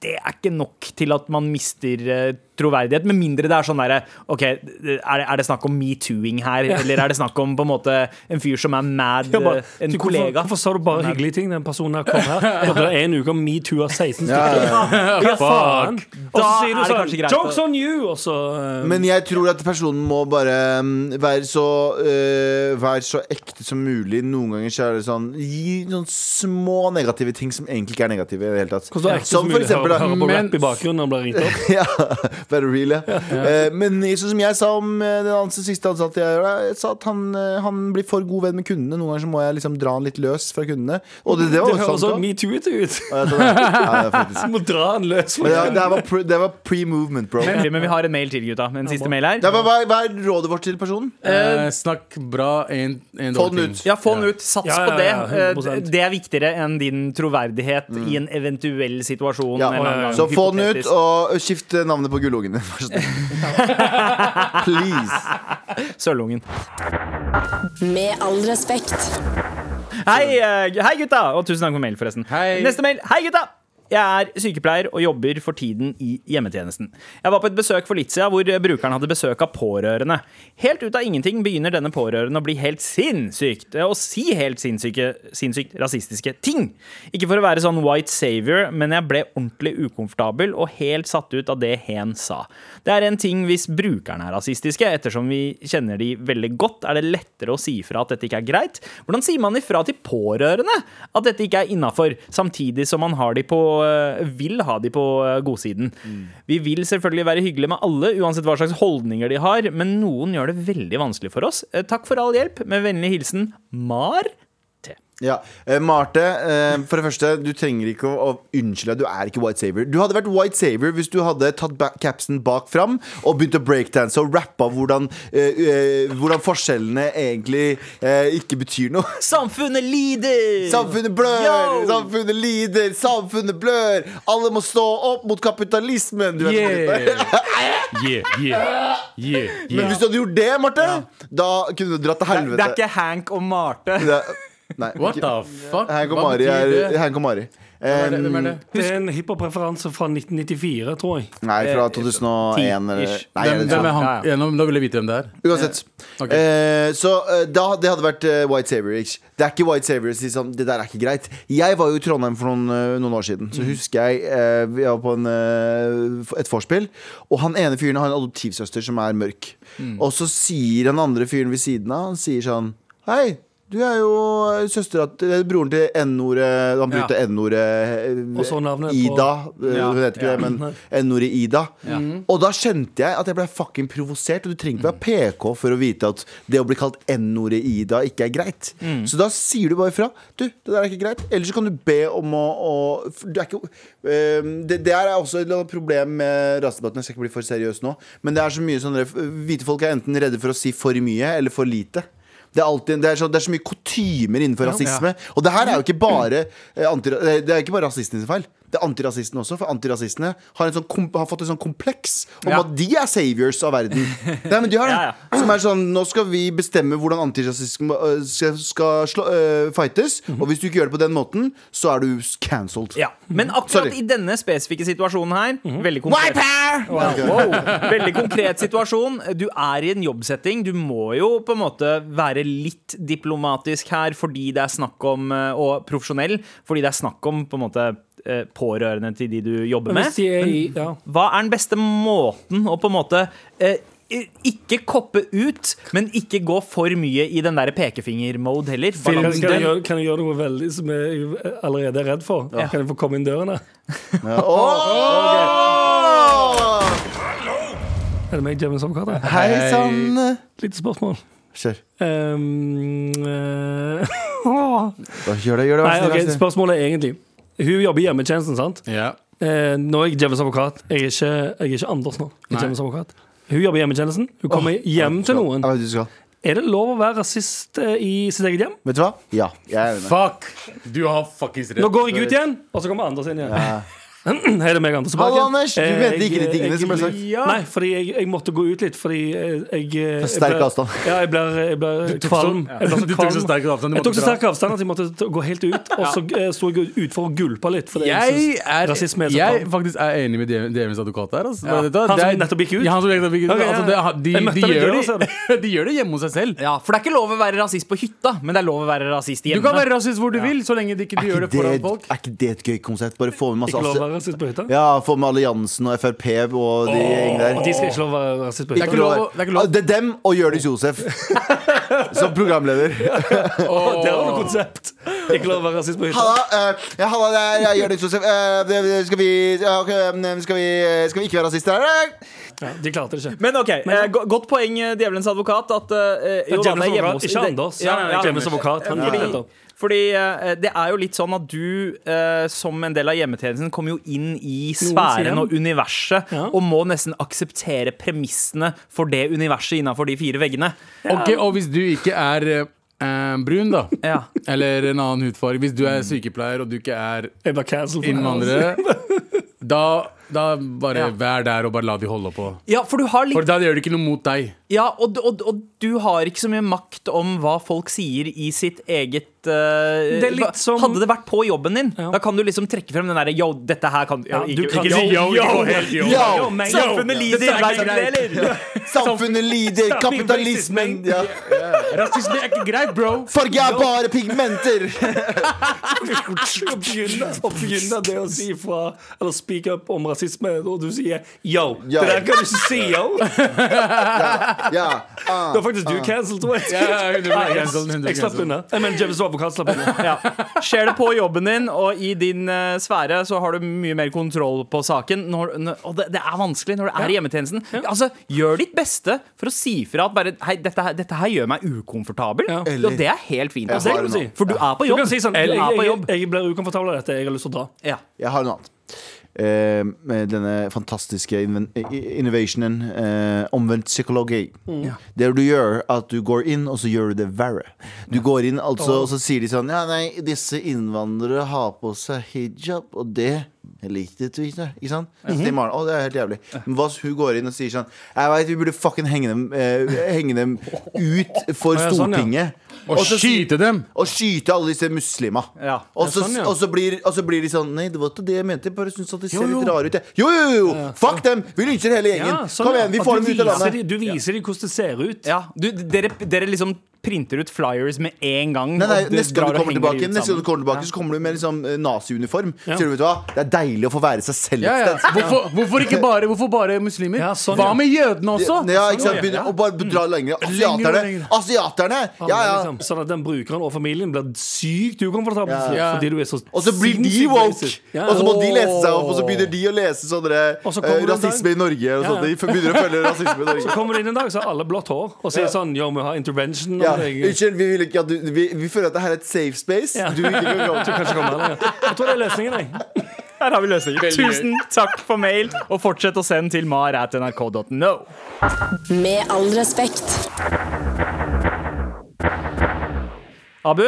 Speaker 2: det er ikke nok til at man mister eh, troverdighet. Med mindre det er sånn derre OK, er det, er det snakk om metooing her? Eller er det snakk om på en måte en fyr som er mad,
Speaker 4: Ja, bare,
Speaker 2: eh, en
Speaker 4: du, hvorfor,
Speaker 2: kollega?
Speaker 4: hvorfor sa du bare hyggelige ting? Den personen her kom her. Og det er en uke om metoo av 16 stykker.
Speaker 2: Ja,
Speaker 4: Faen. Og så
Speaker 2: Da
Speaker 4: sier
Speaker 2: er
Speaker 4: du
Speaker 2: det
Speaker 4: sånn
Speaker 2: kanskje greit å-
Speaker 4: Jokes on you! Og så eh,
Speaker 5: Men jeg tror at personen må bare mm, være så eh, Være så ekte som mulig. Noen ganger så er det sånn Gi sånn små negative ting som egentlig ikke er negative. I det hele tatt.
Speaker 4: Hvordan er det ekte
Speaker 5: Som for
Speaker 4: mulig å
Speaker 5: eksempel da,
Speaker 4: høre- høre på
Speaker 3: men-
Speaker 4: rap i bakgrunnen og bli ringt opp?
Speaker 5: ja, Være real, ja. Eh, men i- sånn som jeg sa om eh, den ansatte, siste ansatte jeg gjør, jeg sa at han, eh, han blir for god venn med kundene. Noen ganger så må jeg liksom dra han litt løs fra kundene. Og det, det var
Speaker 4: Det
Speaker 5: også
Speaker 4: høres så
Speaker 5: sant, da.
Speaker 4: metoo-ete ut.
Speaker 5: Ja, det er faktisk-
Speaker 4: Du må dra den løs.
Speaker 5: Men det, var- det her var, pre, det var pre-movement, bro.
Speaker 2: Men, men vi har en mail til, gutta. En siste mail her.
Speaker 5: Nei, men hva, er- hva er rådet vårt til personen?
Speaker 3: Eh, Snakk bra en, en
Speaker 5: Få
Speaker 3: dårlig
Speaker 5: den
Speaker 3: ting.
Speaker 5: ut.
Speaker 2: Ja, få den ut. Sats
Speaker 4: Ja, ja,
Speaker 2: på det.
Speaker 4: ja, 100%.
Speaker 2: Eh, Det er viktigere enn din troverdighet i en eventuell situasjon.
Speaker 5: Mm. Ja.
Speaker 2: en eller annen
Speaker 5: Så få den ut,
Speaker 2: hypotetisk.
Speaker 5: og skift navnet på gullungen din. Vær så snill. Please.
Speaker 2: Sølvungen.
Speaker 6: Med all respekt.
Speaker 2: Hei, eh, hei, gutta! Og tusen takk for mail, forresten.
Speaker 3: Hei.
Speaker 2: Neste mail. Hei, gutta! Jeg er sykepleier og jobber for tiden i hjemmetjenesten. Jeg var på et besøk for litt siden hvor brukeren hadde besøk av pårørende. Helt ut av ingenting begynner denne pårørende å bli helt sinnssykt og si helt sinnssyke, sinnssykt rasistiske ting. Ikke for å være sånn white savior, men jeg ble ordentlig ukomfortabel og helt satt ut av det hen sa. Det er en ting hvis brukerne er rasistiske, ettersom vi kjenner de veldig godt, er det lettere å si ifra at dette ikke er greit. Hvordan sier man ifra til pårørende at dette ikke er innafor, samtidig som man har de på, øh, vil ha de på øh, godsiden? Vi vil selvfølgelig være hyggelige med alle, uansett hva slags holdninger de har, men noen gjør det veldig vanskelig for oss. Eh, Takk for all hjelp. Med vennlig hilsen Mar. T.
Speaker 5: Ja. Eh, Marte, eh, for det første, du trenger ikke å, å unnskylde deg. Du er ikke White Saver. Du hadde vært White Saver hvis du hadde tatt ba capsen bak fram og begynt å breakdance og rappa hvordan, eh, eh, hvordan forskjellene egentlig eh, ikke betyr noe.
Speaker 2: Samfunnet lider!
Speaker 5: Samfunnet blør,
Speaker 2: Yo!
Speaker 5: samfunnet lider, samfunnet blør. Alle må stå opp mot kapitalismen. Du vet hva det er.
Speaker 3: Yeah. Yeah, yeah, yeah,
Speaker 5: Men
Speaker 3: yeah.
Speaker 5: hvis du hadde gjort det, Marte, da kunne du dratt til
Speaker 2: Det
Speaker 5: helvete.
Speaker 2: er ikke Hank og Marte.
Speaker 5: Det- Nei,
Speaker 3: What
Speaker 5: ikke-
Speaker 3: the fuck?
Speaker 5: Hank og
Speaker 3: Hva
Speaker 5: Mari
Speaker 3: betyr
Speaker 5: er
Speaker 3: det?
Speaker 5: Hank og Mari.
Speaker 3: Hvem er det? Hvem er
Speaker 5: Um,
Speaker 3: det?
Speaker 4: Det er en hiphop-referanse fra 1994, tror jeg.
Speaker 5: nei, fra
Speaker 4: liksom
Speaker 5: 2001 eller
Speaker 2: Ti-ish.
Speaker 5: Nei,
Speaker 3: Hvem,
Speaker 5: jeg vet
Speaker 3: hvem er
Speaker 5: ikke.
Speaker 3: han?
Speaker 2: Ja, ja.
Speaker 3: Ja, nå- nå vil jeg vite hvem det er.
Speaker 5: sånn. Uansett.
Speaker 3: Ok.
Speaker 5: Eh, så eh, da, det hadde vært eh, White Savior. Ikke? Det er ikke White Savior å si sånn Det der er ikke greit. Jeg var jo i Trondheim for noen, eh, noen år
Speaker 4: Mm.
Speaker 5: siden. Så husker jeg eh, Vi var på en, eh, f- et vorspiel, og han ene fyren har en adoptivsøster som er mørk.
Speaker 4: Mm.
Speaker 5: Og så sier den andre fyren ved siden av Han sier sånn Hei, du er jo eh, søstera til eller broren til N-ordet Han
Speaker 4: Ja.
Speaker 5: brukte N-ordet eh,
Speaker 4: Og så navnet på-
Speaker 5: Ida. eh, Hun heter ikke det, men N-ordet Ida. Og da kjente jeg at jeg ble fucking provosert. Og du trenger ikke være PK for å vite at det å bli kalt N-ordet Ida ikke er greit. Så da sier du bare ifra. Du, det der er ikke greit. Eller så kan du be om å, å for du er ikke, ehm, det, det her er også et eller annet problem med rasedebatten. Jeg skal ikke bli for seriøs nå. Men det er så mye sånn Hvite folk er enten redde for å si for mye eller for lite. Det er, alltid, det, er så, det er så mye kutymer innenfor rasisme. Og det her er jo ikke bare, eh, anti, eh, det er ikke bare rasistene sin feil. Det er antirasistene også, for antirasistene har, en sånn kom, har fått en sånn kompleks om
Speaker 2: Ja.
Speaker 5: at de er saviors av verden. Nei, men de har det.
Speaker 2: Ja,
Speaker 5: Som er sånn Nå skal vi bestemme hvordan antirasisme eh, skal, skal slå, eh, fightes, og hvis du ikke gjør det på den måten, så er du cancelled.
Speaker 2: Ja, Men akkurat
Speaker 5: Sorry.
Speaker 2: i denne spesifikke situasjonen her Veldig konkret wow. Veldig konkret situasjon. Du er i en jobbsetting. Du må jo på en måte være litt diplomatisk her fordi det er snakk om eh, Og profesjonell, fordi det er snakk om på en måte eh, pårørende til de du jobber
Speaker 4: Men
Speaker 2: med.
Speaker 4: hvis de er i ja.
Speaker 2: Hva er den beste måten å på en måte eh, i- ikke koppe ut, men ikke gå for mye i den der pekefinger-mode heller?
Speaker 4: kan, kan, jeg
Speaker 2: Balansen.
Speaker 4: gjøre, kan jeg gjøre noe veldig som jeg allerede er redd for? Kan jeg få komme inn dørene?
Speaker 5: Ja. Åh!
Speaker 4: Er det meg, James Avocado?
Speaker 5: Hei sann!
Speaker 4: Lite spørsmål.
Speaker 5: Kjør.
Speaker 4: Ehm, eh,
Speaker 5: Gjør det, gjør det. Vær
Speaker 4: Nei,
Speaker 5: så snill,
Speaker 4: ok,
Speaker 5: vær så snill.
Speaker 4: spørsmålet er egentlig Hun jobber i hjemmetjenesten, sant?
Speaker 3: Ja.
Speaker 4: Eh, nå er jeg Jevens advokat. Jeg er ikke, jeg er ikke Anders nå. Jeg
Speaker 3: Nei.
Speaker 4: er Jevons advokat. Hun jobber i hjemmetjenesten. Hun kommer hjem til noen.
Speaker 5: Jeg vet du skal.
Speaker 4: Er det lov å være rasist eh, i sitt eget hjem?
Speaker 5: Vet du hva? Ja, jeg er enig.
Speaker 3: Fuck! Du har fuckings rett.
Speaker 4: Nå går jeg ut igjen, og så kommer Anders inn igjen. Hei, det er meg, Anders. tilbake.
Speaker 5: Hallo, Anders. Du
Speaker 4: Eh,
Speaker 5: mente ikke
Speaker 4: jeg-
Speaker 5: de tingene
Speaker 4: jeg-
Speaker 5: som ble sagt.
Speaker 4: Nei, fordi jeg, jeg måtte gå ut litt, fordi eh, jeg, jeg
Speaker 5: For sterk
Speaker 4: jeg ble-
Speaker 5: avstand.
Speaker 4: Ja, jeg blir, eh, jeg blir kvalm. Jeg ble
Speaker 3: Du tok så
Speaker 4: kvalm.
Speaker 3: sterk avstand. du
Speaker 4: Jeg tok
Speaker 3: måtte
Speaker 4: så
Speaker 3: dra.
Speaker 4: sterk avstand at jeg måtte t- gå helt ut, og så eh, sto jeg utfor og gulpa litt. Fordi jeg,
Speaker 3: Jeg
Speaker 4: synes
Speaker 3: er,
Speaker 4: rasisme er så
Speaker 3: jeg
Speaker 4: kvalm.
Speaker 3: faktisk er enig med DMs advokat der. Altså.
Speaker 2: Ja.
Speaker 3: Vet du hva?
Speaker 4: Han som
Speaker 3: Det er-
Speaker 4: nettopp gikk ut?
Speaker 3: Ja, han som nettopp gikk ut.
Speaker 4: Ok, ja,
Speaker 3: altså, det,
Speaker 4: ja.
Speaker 3: han- de,
Speaker 4: Jeg møtte
Speaker 3: de,
Speaker 4: ham i
Speaker 3: gjør
Speaker 4: døra, ser
Speaker 3: det, de gjør det hjemme hos seg selv.
Speaker 2: Ja, for det er ikke lov å være rasist på hytta, men det er lov å være rasist
Speaker 3: Du
Speaker 2: hjemme.
Speaker 3: kan være rasist hvor du vil, så lenge de ikke
Speaker 5: Er
Speaker 3: gjør
Speaker 5: ikke,
Speaker 3: det foran
Speaker 5: det,
Speaker 3: folk.
Speaker 5: er ikke det et gøy konsept? Bare få med masse
Speaker 4: Ikke lov å
Speaker 5: allianser
Speaker 4: være rasist på hytta?
Speaker 5: Ja, få med alliansen og Frp og de gjengene der.
Speaker 4: Og de skal ikke lov å være rasist på
Speaker 5: Det er,
Speaker 4: hytta?
Speaker 5: ikke lov, å- Ah,
Speaker 3: Det er ikke lov.
Speaker 5: det er dem og Jonis Josef som programleder.
Speaker 4: Å, Der har du konsept! Ikke lov å være rasist på hytta.
Speaker 5: Halla, eh, ja, halla det er jeg, Jonis Josef. Eh, det- det- skal, vi, ja, ok, mm, skal, vi, skal vi ikke være rasister her? Eh,
Speaker 4: Ja, de klarte det ikke.
Speaker 2: Men ok, eh, go- godt poeng, eh, Djevelens advokat. At, eh, jo, da, det
Speaker 4: James
Speaker 2: er hjemme
Speaker 4: advokat,
Speaker 2: hos
Speaker 4: ikke Anders.
Speaker 2: Ja, ja, ja.
Speaker 4: James advokat, han gikk nettopp.
Speaker 2: Fordi eh, det er jo litt sånn at du eh, som en del av hjemmetjenesten kommer jo inn i sfæren
Speaker 4: hjem.
Speaker 2: og universet
Speaker 4: Ja.
Speaker 2: og må nesten akseptere premissene for det universet innafor de fire veggene.
Speaker 3: Ok, Og hvis du ikke er eh, brun, da,
Speaker 2: Ja.
Speaker 3: eller en annen hudfarge Hvis du er sykepleier og du ikke er
Speaker 4: Jeg ble cancelled.
Speaker 3: innvandrere, da, da bare
Speaker 2: Ja.
Speaker 3: vær der og bare la de holde på.
Speaker 2: ja, for du har litt
Speaker 3: For da gjør de ikke noe mot deg.
Speaker 2: Ja, og, og, og du har ikke så mye makt om hva folk sier i sitt eget eh,
Speaker 4: Det er litt
Speaker 2: hva-
Speaker 4: som-
Speaker 2: Hadde det vært på jobben din,
Speaker 4: Ja.
Speaker 2: da kan du liksom trekke frem den derre Yo, dette her kan
Speaker 4: Ja, du kan-
Speaker 2: si
Speaker 4: Yo,
Speaker 2: yo,
Speaker 5: Yo,
Speaker 2: yo,
Speaker 4: men-
Speaker 2: Samfunnet
Speaker 4: yo.
Speaker 2: lider,
Speaker 4: Dette er
Speaker 2: veit
Speaker 4: ikke
Speaker 2: du det,
Speaker 4: greit.
Speaker 2: eller?
Speaker 5: Samfunnet lider, kapitalismen ja.
Speaker 3: Rasisme er ikke greit, bro.
Speaker 5: Farge er bare pigmenter!
Speaker 4: Å begynne å begynne det å si fra Eller speak up om rasisme, og du sier yo.
Speaker 5: Yo. Ah.
Speaker 4: Det der kan du ikke si yo. Det
Speaker 5: Ja, ah,
Speaker 4: var faktisk du cancelled. tror jeg.
Speaker 3: Ja, ja,
Speaker 4: Nei, jeg-
Speaker 3: 100% cancelled, 100%
Speaker 4: Jeg slapp
Speaker 3: cancelled.
Speaker 4: unna. Jeg mener, James Robocop slapp unna.
Speaker 2: Ja. Skjer det på jobben din og i din eh, sfære, så har du mye mer kontroll på saken. Når, når, og det, det er vanskelig når du er i hjemmetjenesten. Altså, Gjør ditt beste for å si fra at bare, hei, dette, her- dette her gjør meg ukomfortabel.
Speaker 4: Ja.
Speaker 2: Og det er helt fint.
Speaker 5: Jeg
Speaker 2: Altså.
Speaker 5: har
Speaker 4: det kan du
Speaker 5: noe.
Speaker 2: For du er på
Speaker 4: Du
Speaker 2: jobb.
Speaker 4: kan si sånn jeg,
Speaker 2: du er
Speaker 4: jeg,
Speaker 2: på
Speaker 4: jeg,
Speaker 2: jobb.
Speaker 4: jeg blir ukomfortabel av dette, jeg har lyst til å dra.
Speaker 2: Ja.
Speaker 5: Jeg har noe annet. Eh, med denne fantastiske inven- i- innovationen eh, omvendt psykologi.
Speaker 4: Mm.
Speaker 5: Det du gjør, at du går inn, og så gjør du det verre. Du går inn, altså, og så sier de sånn Ja, nei, disse innvandrere har på seg hijab, og det likte du ikke. Ikke sant? Så sier Maren, å, det er helt jævlig. Men hva hvis hun går inn og sier sånn Jeg veit vi burde fucking henge dem, eh, henge dem ut for
Speaker 4: ja, sånn, ja.
Speaker 5: Stortinget.
Speaker 3: Og
Speaker 5: så sier-
Speaker 3: skyte dem!
Speaker 5: og skyte alle disse muslimer.
Speaker 2: Ja,
Speaker 5: og, så,
Speaker 4: det er sånn, ja.
Speaker 5: og, så blir, og så blir de sånn Nei, det var ikke det jeg mente. Jeg bare syns at de ser
Speaker 4: Jo, jo.
Speaker 5: litt rare ut. jeg.» Jo, jo, jo! Fuck dem! Vi lynsjer hele gjengen.
Speaker 4: Ja, sånn,
Speaker 5: Kom
Speaker 4: ja.
Speaker 5: igjen, vi
Speaker 4: At
Speaker 5: får
Speaker 4: du
Speaker 5: dem ut av
Speaker 4: viser
Speaker 5: landet.
Speaker 4: de- Du viser dem hvordan det ser ut.
Speaker 2: Ja. Du, dere, dere liksom printer ut flyers med en gang.
Speaker 5: Nei, nei,
Speaker 2: og
Speaker 5: neste gang
Speaker 2: drar
Speaker 5: du
Speaker 2: og
Speaker 5: kommer
Speaker 2: henger
Speaker 5: tilbake,
Speaker 2: ut
Speaker 5: neste gang du
Speaker 2: sammen.
Speaker 5: kommer tilbake så kommer du med liksom, eh, naziuniform. Sier du, vet du hva, det er deilig å få være seg selv
Speaker 3: Ja,
Speaker 5: et
Speaker 3: ja.
Speaker 5: sted.
Speaker 3: Hvorfor, hvorfor ikke bare, hvorfor bare muslimer?
Speaker 4: Ja, sånn,
Speaker 3: Hva
Speaker 4: ja.
Speaker 3: med jødene også?
Speaker 5: Ja, ikke sant?
Speaker 3: Sånn,
Speaker 5: Begynne å bare
Speaker 4: Mm.
Speaker 5: dra lenger.
Speaker 3: Lenger og
Speaker 5: Asiaterne!
Speaker 3: lenger.
Speaker 5: Asiaterne! Ja, ja.
Speaker 4: Liksom, sånn at den brukeren og familien blir sykt ukomfortabel til slutt,
Speaker 3: Ja.
Speaker 4: fordi du er så
Speaker 5: Og så blir de
Speaker 4: sinnssykt
Speaker 5: woke!
Speaker 4: racist. Ja.
Speaker 5: Og så må de lese seg opp, og så begynner de å lese sånne
Speaker 4: Og så
Speaker 5: eh,
Speaker 4: kommer det en dag-
Speaker 5: rasisme i Norge. Og
Speaker 4: Ja, ja.
Speaker 5: sånt. De begynner å følge rasisme i Norge.
Speaker 4: Så kommer det inn en dag, så har alle blått hår og sier sånn Yo, vi har intervention.
Speaker 5: Ja,
Speaker 4: og det er-
Speaker 5: unnskyld, vi, vil ikke at du, vi, vi føler at det her er et safe space.
Speaker 4: Ja.
Speaker 5: Du vil ikke komme.
Speaker 4: Du kan ikke komme her lenger. Jeg tror det er løsningen, jeg.
Speaker 2: Her har vi løsningen.
Speaker 3: Veldig gøy.
Speaker 2: Tusen takk for mail, og fortsett å sende til mar.nrk.no.
Speaker 6: Med all respekt.
Speaker 2: Abu,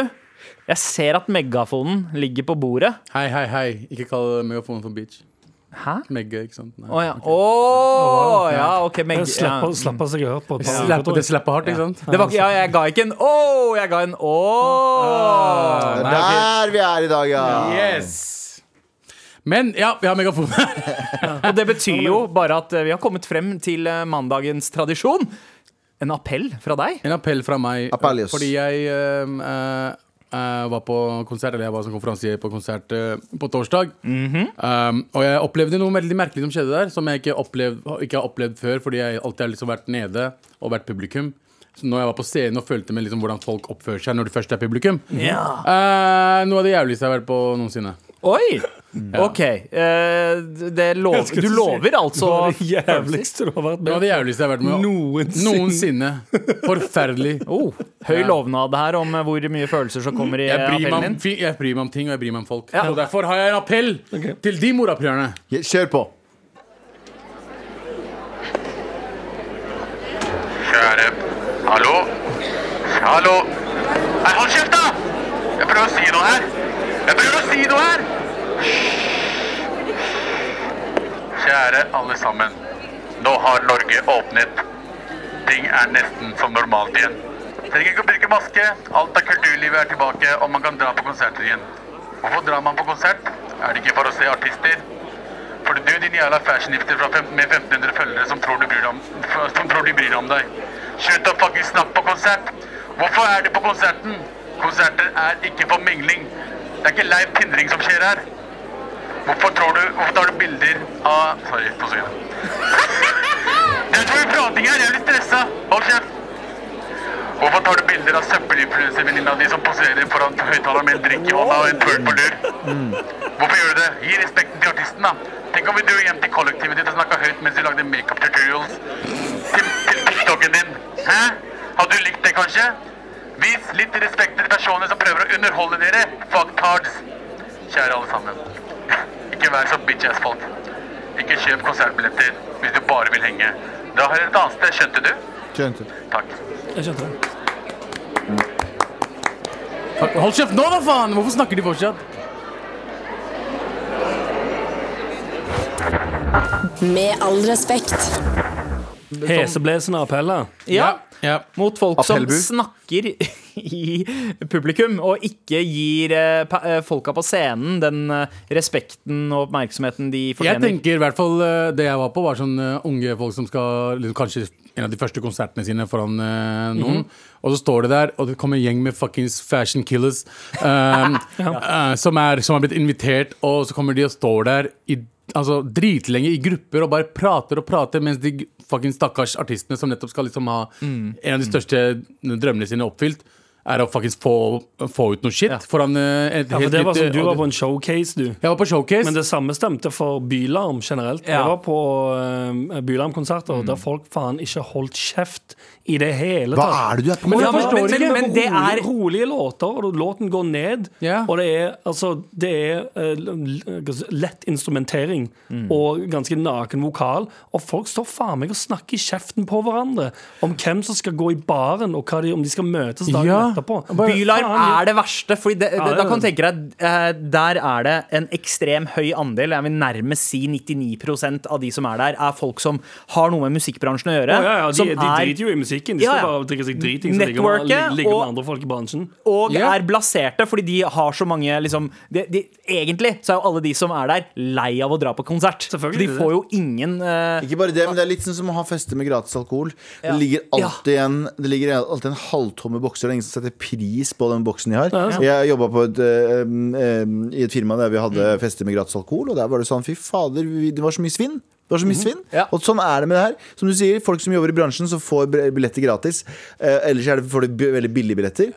Speaker 2: jeg ser at megafonen ligger på bordet.
Speaker 3: Hei, hei, hei. Ikke kall megafonen for bitch.
Speaker 2: Hæ?
Speaker 3: Megge, ikke sant? Nei.
Speaker 2: Å ja. Å, ja, ok. Meg, ja.
Speaker 4: Slapp, slapp av seg å høre på.
Speaker 3: Slapp, det slapper hardt, ikke sant?
Speaker 2: Det var, ikke- ja, jeg ga ikke en å, jeg ga en å.
Speaker 5: Det er der vi er i dag, ja.
Speaker 3: Yes! Men ja, vi har megafon.
Speaker 2: Og det betyr jo bare at eh, vi har kommet frem til eh, mandagens tradisjon. En appell fra deg.
Speaker 3: En appell fra meg. eh,
Speaker 5: Appellius.
Speaker 3: Fordi jeg ehm, eh, eh, var på konsert, eller jeg var som konferansier på konsert eh, på torsdag. Ehm, og jeg opplevde noe veldig merkelig som skjedde der, som jeg ikke, opplevd, ikke har opplevd før, fordi jeg alltid har liksom vært nede og vært publikum. Så når jeg var på scenen og følte med liksom hvordan folk oppfører seg når de først er publikum.
Speaker 2: Ja.
Speaker 3: Eh, noe av det jævligste jeg har vært på noensinne.
Speaker 2: Oi! OK. eh, det lov, du lover altså
Speaker 4: Det jævligste du har vært
Speaker 3: Noe av
Speaker 4: med
Speaker 3: det jævligste jeg har vært med
Speaker 4: Noensinne.
Speaker 3: Noensinne. Forferdelig.
Speaker 2: oh, Høy
Speaker 3: Ja.
Speaker 2: lovnad her om eh, hvor mye følelser som kommer i
Speaker 3: Jeg bryr, meg
Speaker 2: appellen
Speaker 3: om,
Speaker 2: din.
Speaker 3: fi- jeg bryr meg om ting, og jeg bryr meg om folk.
Speaker 2: Ja.
Speaker 3: Så derfor har jeg en appell til de morapulerne.
Speaker 5: Ja, Kjør på.
Speaker 8: Kjære Hallo? Hallo? Nei, hold kjeft, da! Jeg prøver å si noe her. Jeg prøver å si noe her! Kjære alle sammen. Nå har Norge åpnet. Ting er nesten som normalt igjen. Trenger ikke å bruke maske. Alt av kulturlivet er tilbake, og man kan dra på konserter igjen. Hvorfor drar man på konsert? Er det ikke for å se artister? Fordi du, din jævla fashionifter fra fem, med 1500 følgere som tror, du bryr deg om, f- som tror de bryr deg om deg. Slutt å fucking snakke på konsert. Hvorfor er du på konserten? Konserter er ikke for mingling. Det er ikke Leif Tindring som skjer her. Hvorfor tror du Hvorfor tar du bilder av Sorry, to sekunder. Det er så mye prating her. Jeg blir stressa. Hold kjeft. Hvorfor tar du bilder av søppelinfluenservenninna di som poserer foran høyttaleren med en drink i hånda og en pøl på lur? Hvorfor gjør du det? Gi respekten til artisten, da. Tenk om vi dro hjem til kollektivet ditt og snakka høyt mens vi lagde makeup tutorials til, til TikToken din. Hæ? Hadde du likt det, kanskje? Vis litt respekt til de personene som prøver å underholde dere. Fucktards. Kjære alle sammen. Ikke vær så bitch-ass folk. Ikke kjøp konsertbilletter hvis du bare vil henge. Dra her et annet sted, skjønte du?
Speaker 5: Skjønte.
Speaker 8: Takk.
Speaker 4: det. Jeg skjønte det.
Speaker 3: Hold kjeft nå, da, faen! Hvorfor snakker de fortsatt?
Speaker 6: Med all respekt.
Speaker 4: Heseblesende appeller.
Speaker 2: Ja.
Speaker 3: ja.
Speaker 2: Mot folk som
Speaker 5: Appellbu.
Speaker 2: snakker i publikum, og ikke gir eh, pa- eh, folka på scenen den eh, respekten og oppmerksomheten de
Speaker 3: Jeg
Speaker 2: fortjener.
Speaker 3: tenker i hvert fall eh, Det jeg var på, var sånn eh, unge folk som skal liksom, Kanskje en av de første konsertene sine foran eh,
Speaker 4: Mhm.
Speaker 3: noen. Og så står det der, og det kommer en gjeng med fuckings fashion ehm, killers eh, eh, som, er, som har blitt invitert, og så kommer de og står der i altså, dritlenge i grupper og bare prater og prater, mens de fucking stakkars artistene som nettopp skal liksom ha
Speaker 4: Mm.
Speaker 3: en av de største eh, drømmene sine oppfylt, er å faktisk få, få ut noe shit foran eh, et
Speaker 4: Ja, for
Speaker 3: helt
Speaker 4: det var
Speaker 3: nytt,
Speaker 4: som, du
Speaker 3: eh,
Speaker 4: var på en showcase, du.
Speaker 3: Jeg var på showcase.
Speaker 4: Men det samme stemte for Bylarm generelt.
Speaker 2: Ja.
Speaker 4: Jeg var på eh, Bylarm-konserter der folk faen ikke holdt kjeft i det hele
Speaker 5: Hva
Speaker 4: tatt.
Speaker 5: er det du er på
Speaker 3: Men
Speaker 5: med?
Speaker 3: jeg forstår
Speaker 4: men,
Speaker 3: ikke,
Speaker 4: men,
Speaker 2: men det er-
Speaker 4: rolige, rolige låter, og låten går ned.
Speaker 3: Ja.
Speaker 4: Og det er, altså, det er eh, l- l- lett instrumentering og ganske naken vokal. Og folk står faen meg og snakker i kjeften på hverandre om hvem som skal gå i baren, og hva de, om de skal møtes dagen
Speaker 3: Ja.
Speaker 4: etterpå.
Speaker 3: Bare-
Speaker 2: Bylarm
Speaker 4: Faen,
Speaker 2: er det verste. Fordi det,
Speaker 4: Ja, det
Speaker 2: da
Speaker 4: er
Speaker 2: kan du
Speaker 4: det.
Speaker 2: tenke deg eh, Der er det en ekstrem høy andel, jeg vil nærmest si 99 av de som er der, er folk som har noe med musikkbransjen å gjøre.
Speaker 4: Ja, ja, ja, de,
Speaker 2: som
Speaker 4: de
Speaker 2: er-
Speaker 4: driter jo i musikken. De
Speaker 2: Ja, ja.
Speaker 4: står bare og drikker seg driting. Så ligger med,
Speaker 2: Networket
Speaker 4: ligger
Speaker 2: og-
Speaker 4: med andre folk i bransjen.
Speaker 2: og
Speaker 3: Ja.
Speaker 2: er blaserte fordi de har så mange liksom, de, de, Egentlig så er jo alle de som er der, lei av å dra på konsert. Så
Speaker 4: Selvfølgelig.
Speaker 2: de får jo ingen eh,
Speaker 5: Ikke bare det, men det er litt sånn som å ha feste med gratis alkohol.
Speaker 2: Ja.
Speaker 5: Det ligger alltid en, det ligger alltid en halvtomme bokser. Det er ingen som setter pris på den boksen de har. Jeg jobba på et, eh, eh, i et firma der vi hadde
Speaker 3: Mm.
Speaker 5: feste med gratis alkohol, og der var det sånn fy fader, vi, det var så mye svinn. Det var så
Speaker 3: Mm-hmm.
Speaker 5: mye svinn.
Speaker 2: Ja.
Speaker 5: Og sånn er det med det her. Som du sier, folk som jobber i bransjen, som får bre- billetter gratis. Eh, ellers er det, får de b- veldig billige billetter.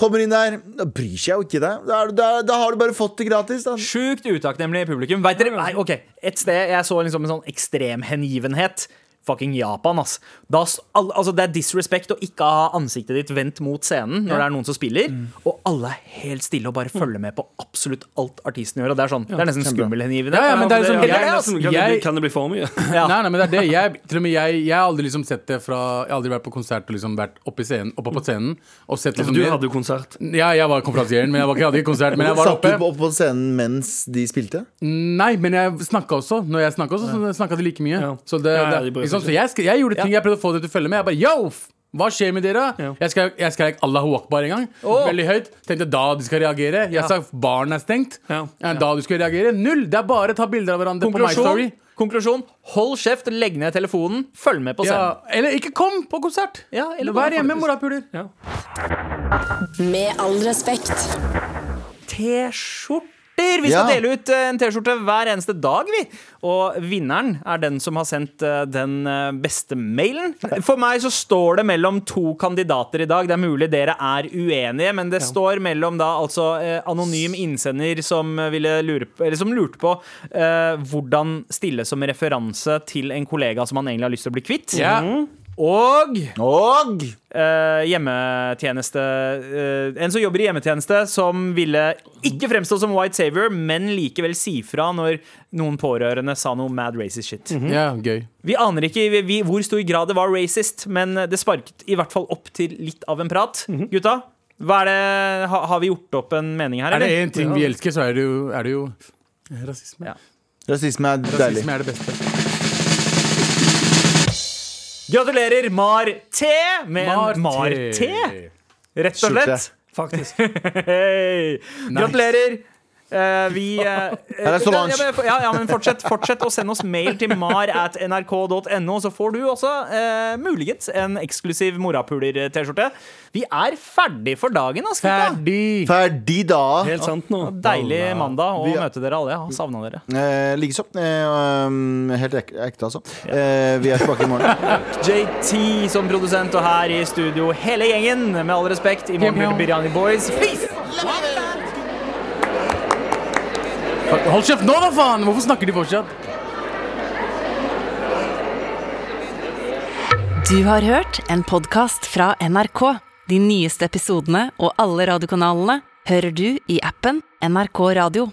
Speaker 5: Kommer inn der, da bryr seg jo ikke deg. Da, er du- da, da har du bare fått det gratis. Da.
Speaker 2: Sjukt utakknemlig publikum. Vet dere, nei, ok, Et sted jeg så liksom en sånn ekstremhengivenhet. Fucking Japan, ass. Da, s- al, altså, det er disrespect å ikke ha ansiktet ditt vendt mot scenen når det er noen som spiller, og alle er helt stille og bare følger med på absolutt alt artisten gjør. Og Det er sånn, det er nesten skummelhengivenhet.
Speaker 3: Ja, ja, men det er liksom-
Speaker 2: Eller
Speaker 4: jeg,
Speaker 2: det, ass.
Speaker 4: nesten, kan, det
Speaker 3: Jeg-
Speaker 4: bli, kan det bli for mye?
Speaker 2: Ja.
Speaker 3: Nei, nei, men det er det. Jeg, til og med jeg, jeg har aldri liksom sett det fra Jeg har aldri vært på konsert og liksom vært oppe, i scenen, oppe på scenen og sett liksom
Speaker 4: Du
Speaker 3: det.
Speaker 4: hadde jo konsert.
Speaker 3: Ja, jeg var konferansieren, men jeg, var ikke, jeg hadde ikke konsert. Men jeg var
Speaker 5: Satt
Speaker 3: oppe.
Speaker 5: du på- opp på scenen mens de spilte?
Speaker 3: Nei, men jeg snakka også. Når jeg snakka også, så snakka de like mye.
Speaker 4: Ja.
Speaker 3: Så, det,
Speaker 4: Ja, ja,
Speaker 3: det,
Speaker 4: de bryr
Speaker 3: ikke
Speaker 4: seg
Speaker 3: sant? så jeg, sk- jeg gjorde ting jeg prøvde å få dem til å følge med. Jeg bare yo! f- Hva skjer med dere?
Speaker 4: Ja.
Speaker 3: Jeg skrek jeg skrek Allahu akbar en gang. Veldig høyt. Tenkte da de skal reagere. Jeg sa baren er stengt.
Speaker 4: Ja.
Speaker 3: Eh, Da du skal reagere. Null! Det er bare ta bilder av hverandre på My
Speaker 2: Konklusjon,
Speaker 3: Story.
Speaker 2: konklusjon, hold kjeft, legg ned telefonen, følg med på scenen.
Speaker 3: Ja, eller ikke kom på konsert!
Speaker 2: Ja, eller bare
Speaker 3: Vær hjemme,
Speaker 2: faktisk-
Speaker 3: morapuler.
Speaker 4: Ja.
Speaker 6: Med all respekt.
Speaker 2: T-skjorter! Vi skal
Speaker 5: Ja.
Speaker 2: dele ut eh, en T-skjorte hver eneste dag, vi. Og vinneren er den som har sendt eh, den eh, beste mailen. For meg så står det mellom to kandidater i dag. Det er mulig dere er uenige, men det står mellom da altså eh, anonym innsender som, ville lure på, eller som lurte på eh, hvordan stille som referanse til en kollega som han egentlig har lyst til å bli kvitt.
Speaker 3: Ja.
Speaker 2: Og
Speaker 5: Og
Speaker 2: eh, hjemmetjeneste eh, En som jobber i hjemmetjeneste, som ville ikke fremstå som white savior, men likevel si fra når noen pårørende sa noe mad racist shit.
Speaker 3: ja, gøy.
Speaker 2: Vi aner ikke i vi, hvor stor grad det var racist, men det sparket i hvert fall opp til litt av en prat.
Speaker 3: Mhm.
Speaker 2: Gutta, hva er det, ha, har vi gjort opp en mening her,
Speaker 3: Er det
Speaker 2: eller?
Speaker 3: én ting vi elsker, så er det jo, er det jo rasisme.
Speaker 2: Ja.
Speaker 5: rasisme er deilig.
Speaker 3: Rasisme er det beste.
Speaker 2: Gratulerer, Mar T, med en Mar T, rett og
Speaker 5: Skjorte.
Speaker 2: slett.
Speaker 4: Faktisk.
Speaker 2: Hei! Gratulerer. Eh, vi eh,
Speaker 5: er Solange.
Speaker 2: Ja, men- Ja, ja, men fortsett, fortsett å sende oss mail til mar at nrk.no, så får du også eh, muligens en eksklusiv morapuler-T-skjorte. Vi er ferdig for dagen, ass, gutta.
Speaker 3: Ferdig!
Speaker 5: Ferdig da.
Speaker 4: Helt sant nå.
Speaker 2: Deilig mandag å
Speaker 5: Vi-
Speaker 2: møte dere alle. Jeg har savna dere.
Speaker 5: Eh, Likeså. Eh, um, helt ek ekte, altså. Eh, vi er tilbake i morgen.
Speaker 2: JT som produsent, og her i studio hele gjengen. Med all respekt, i morgen blir det Biryani Boys. Peace!
Speaker 3: Hold kjeft nå, da, faen! Hvorfor snakker de fortsatt?
Speaker 1: Du har hørt en podkast fra NRK. De nyeste episodene og alle radiokanalene hører du i appen NRK Radio.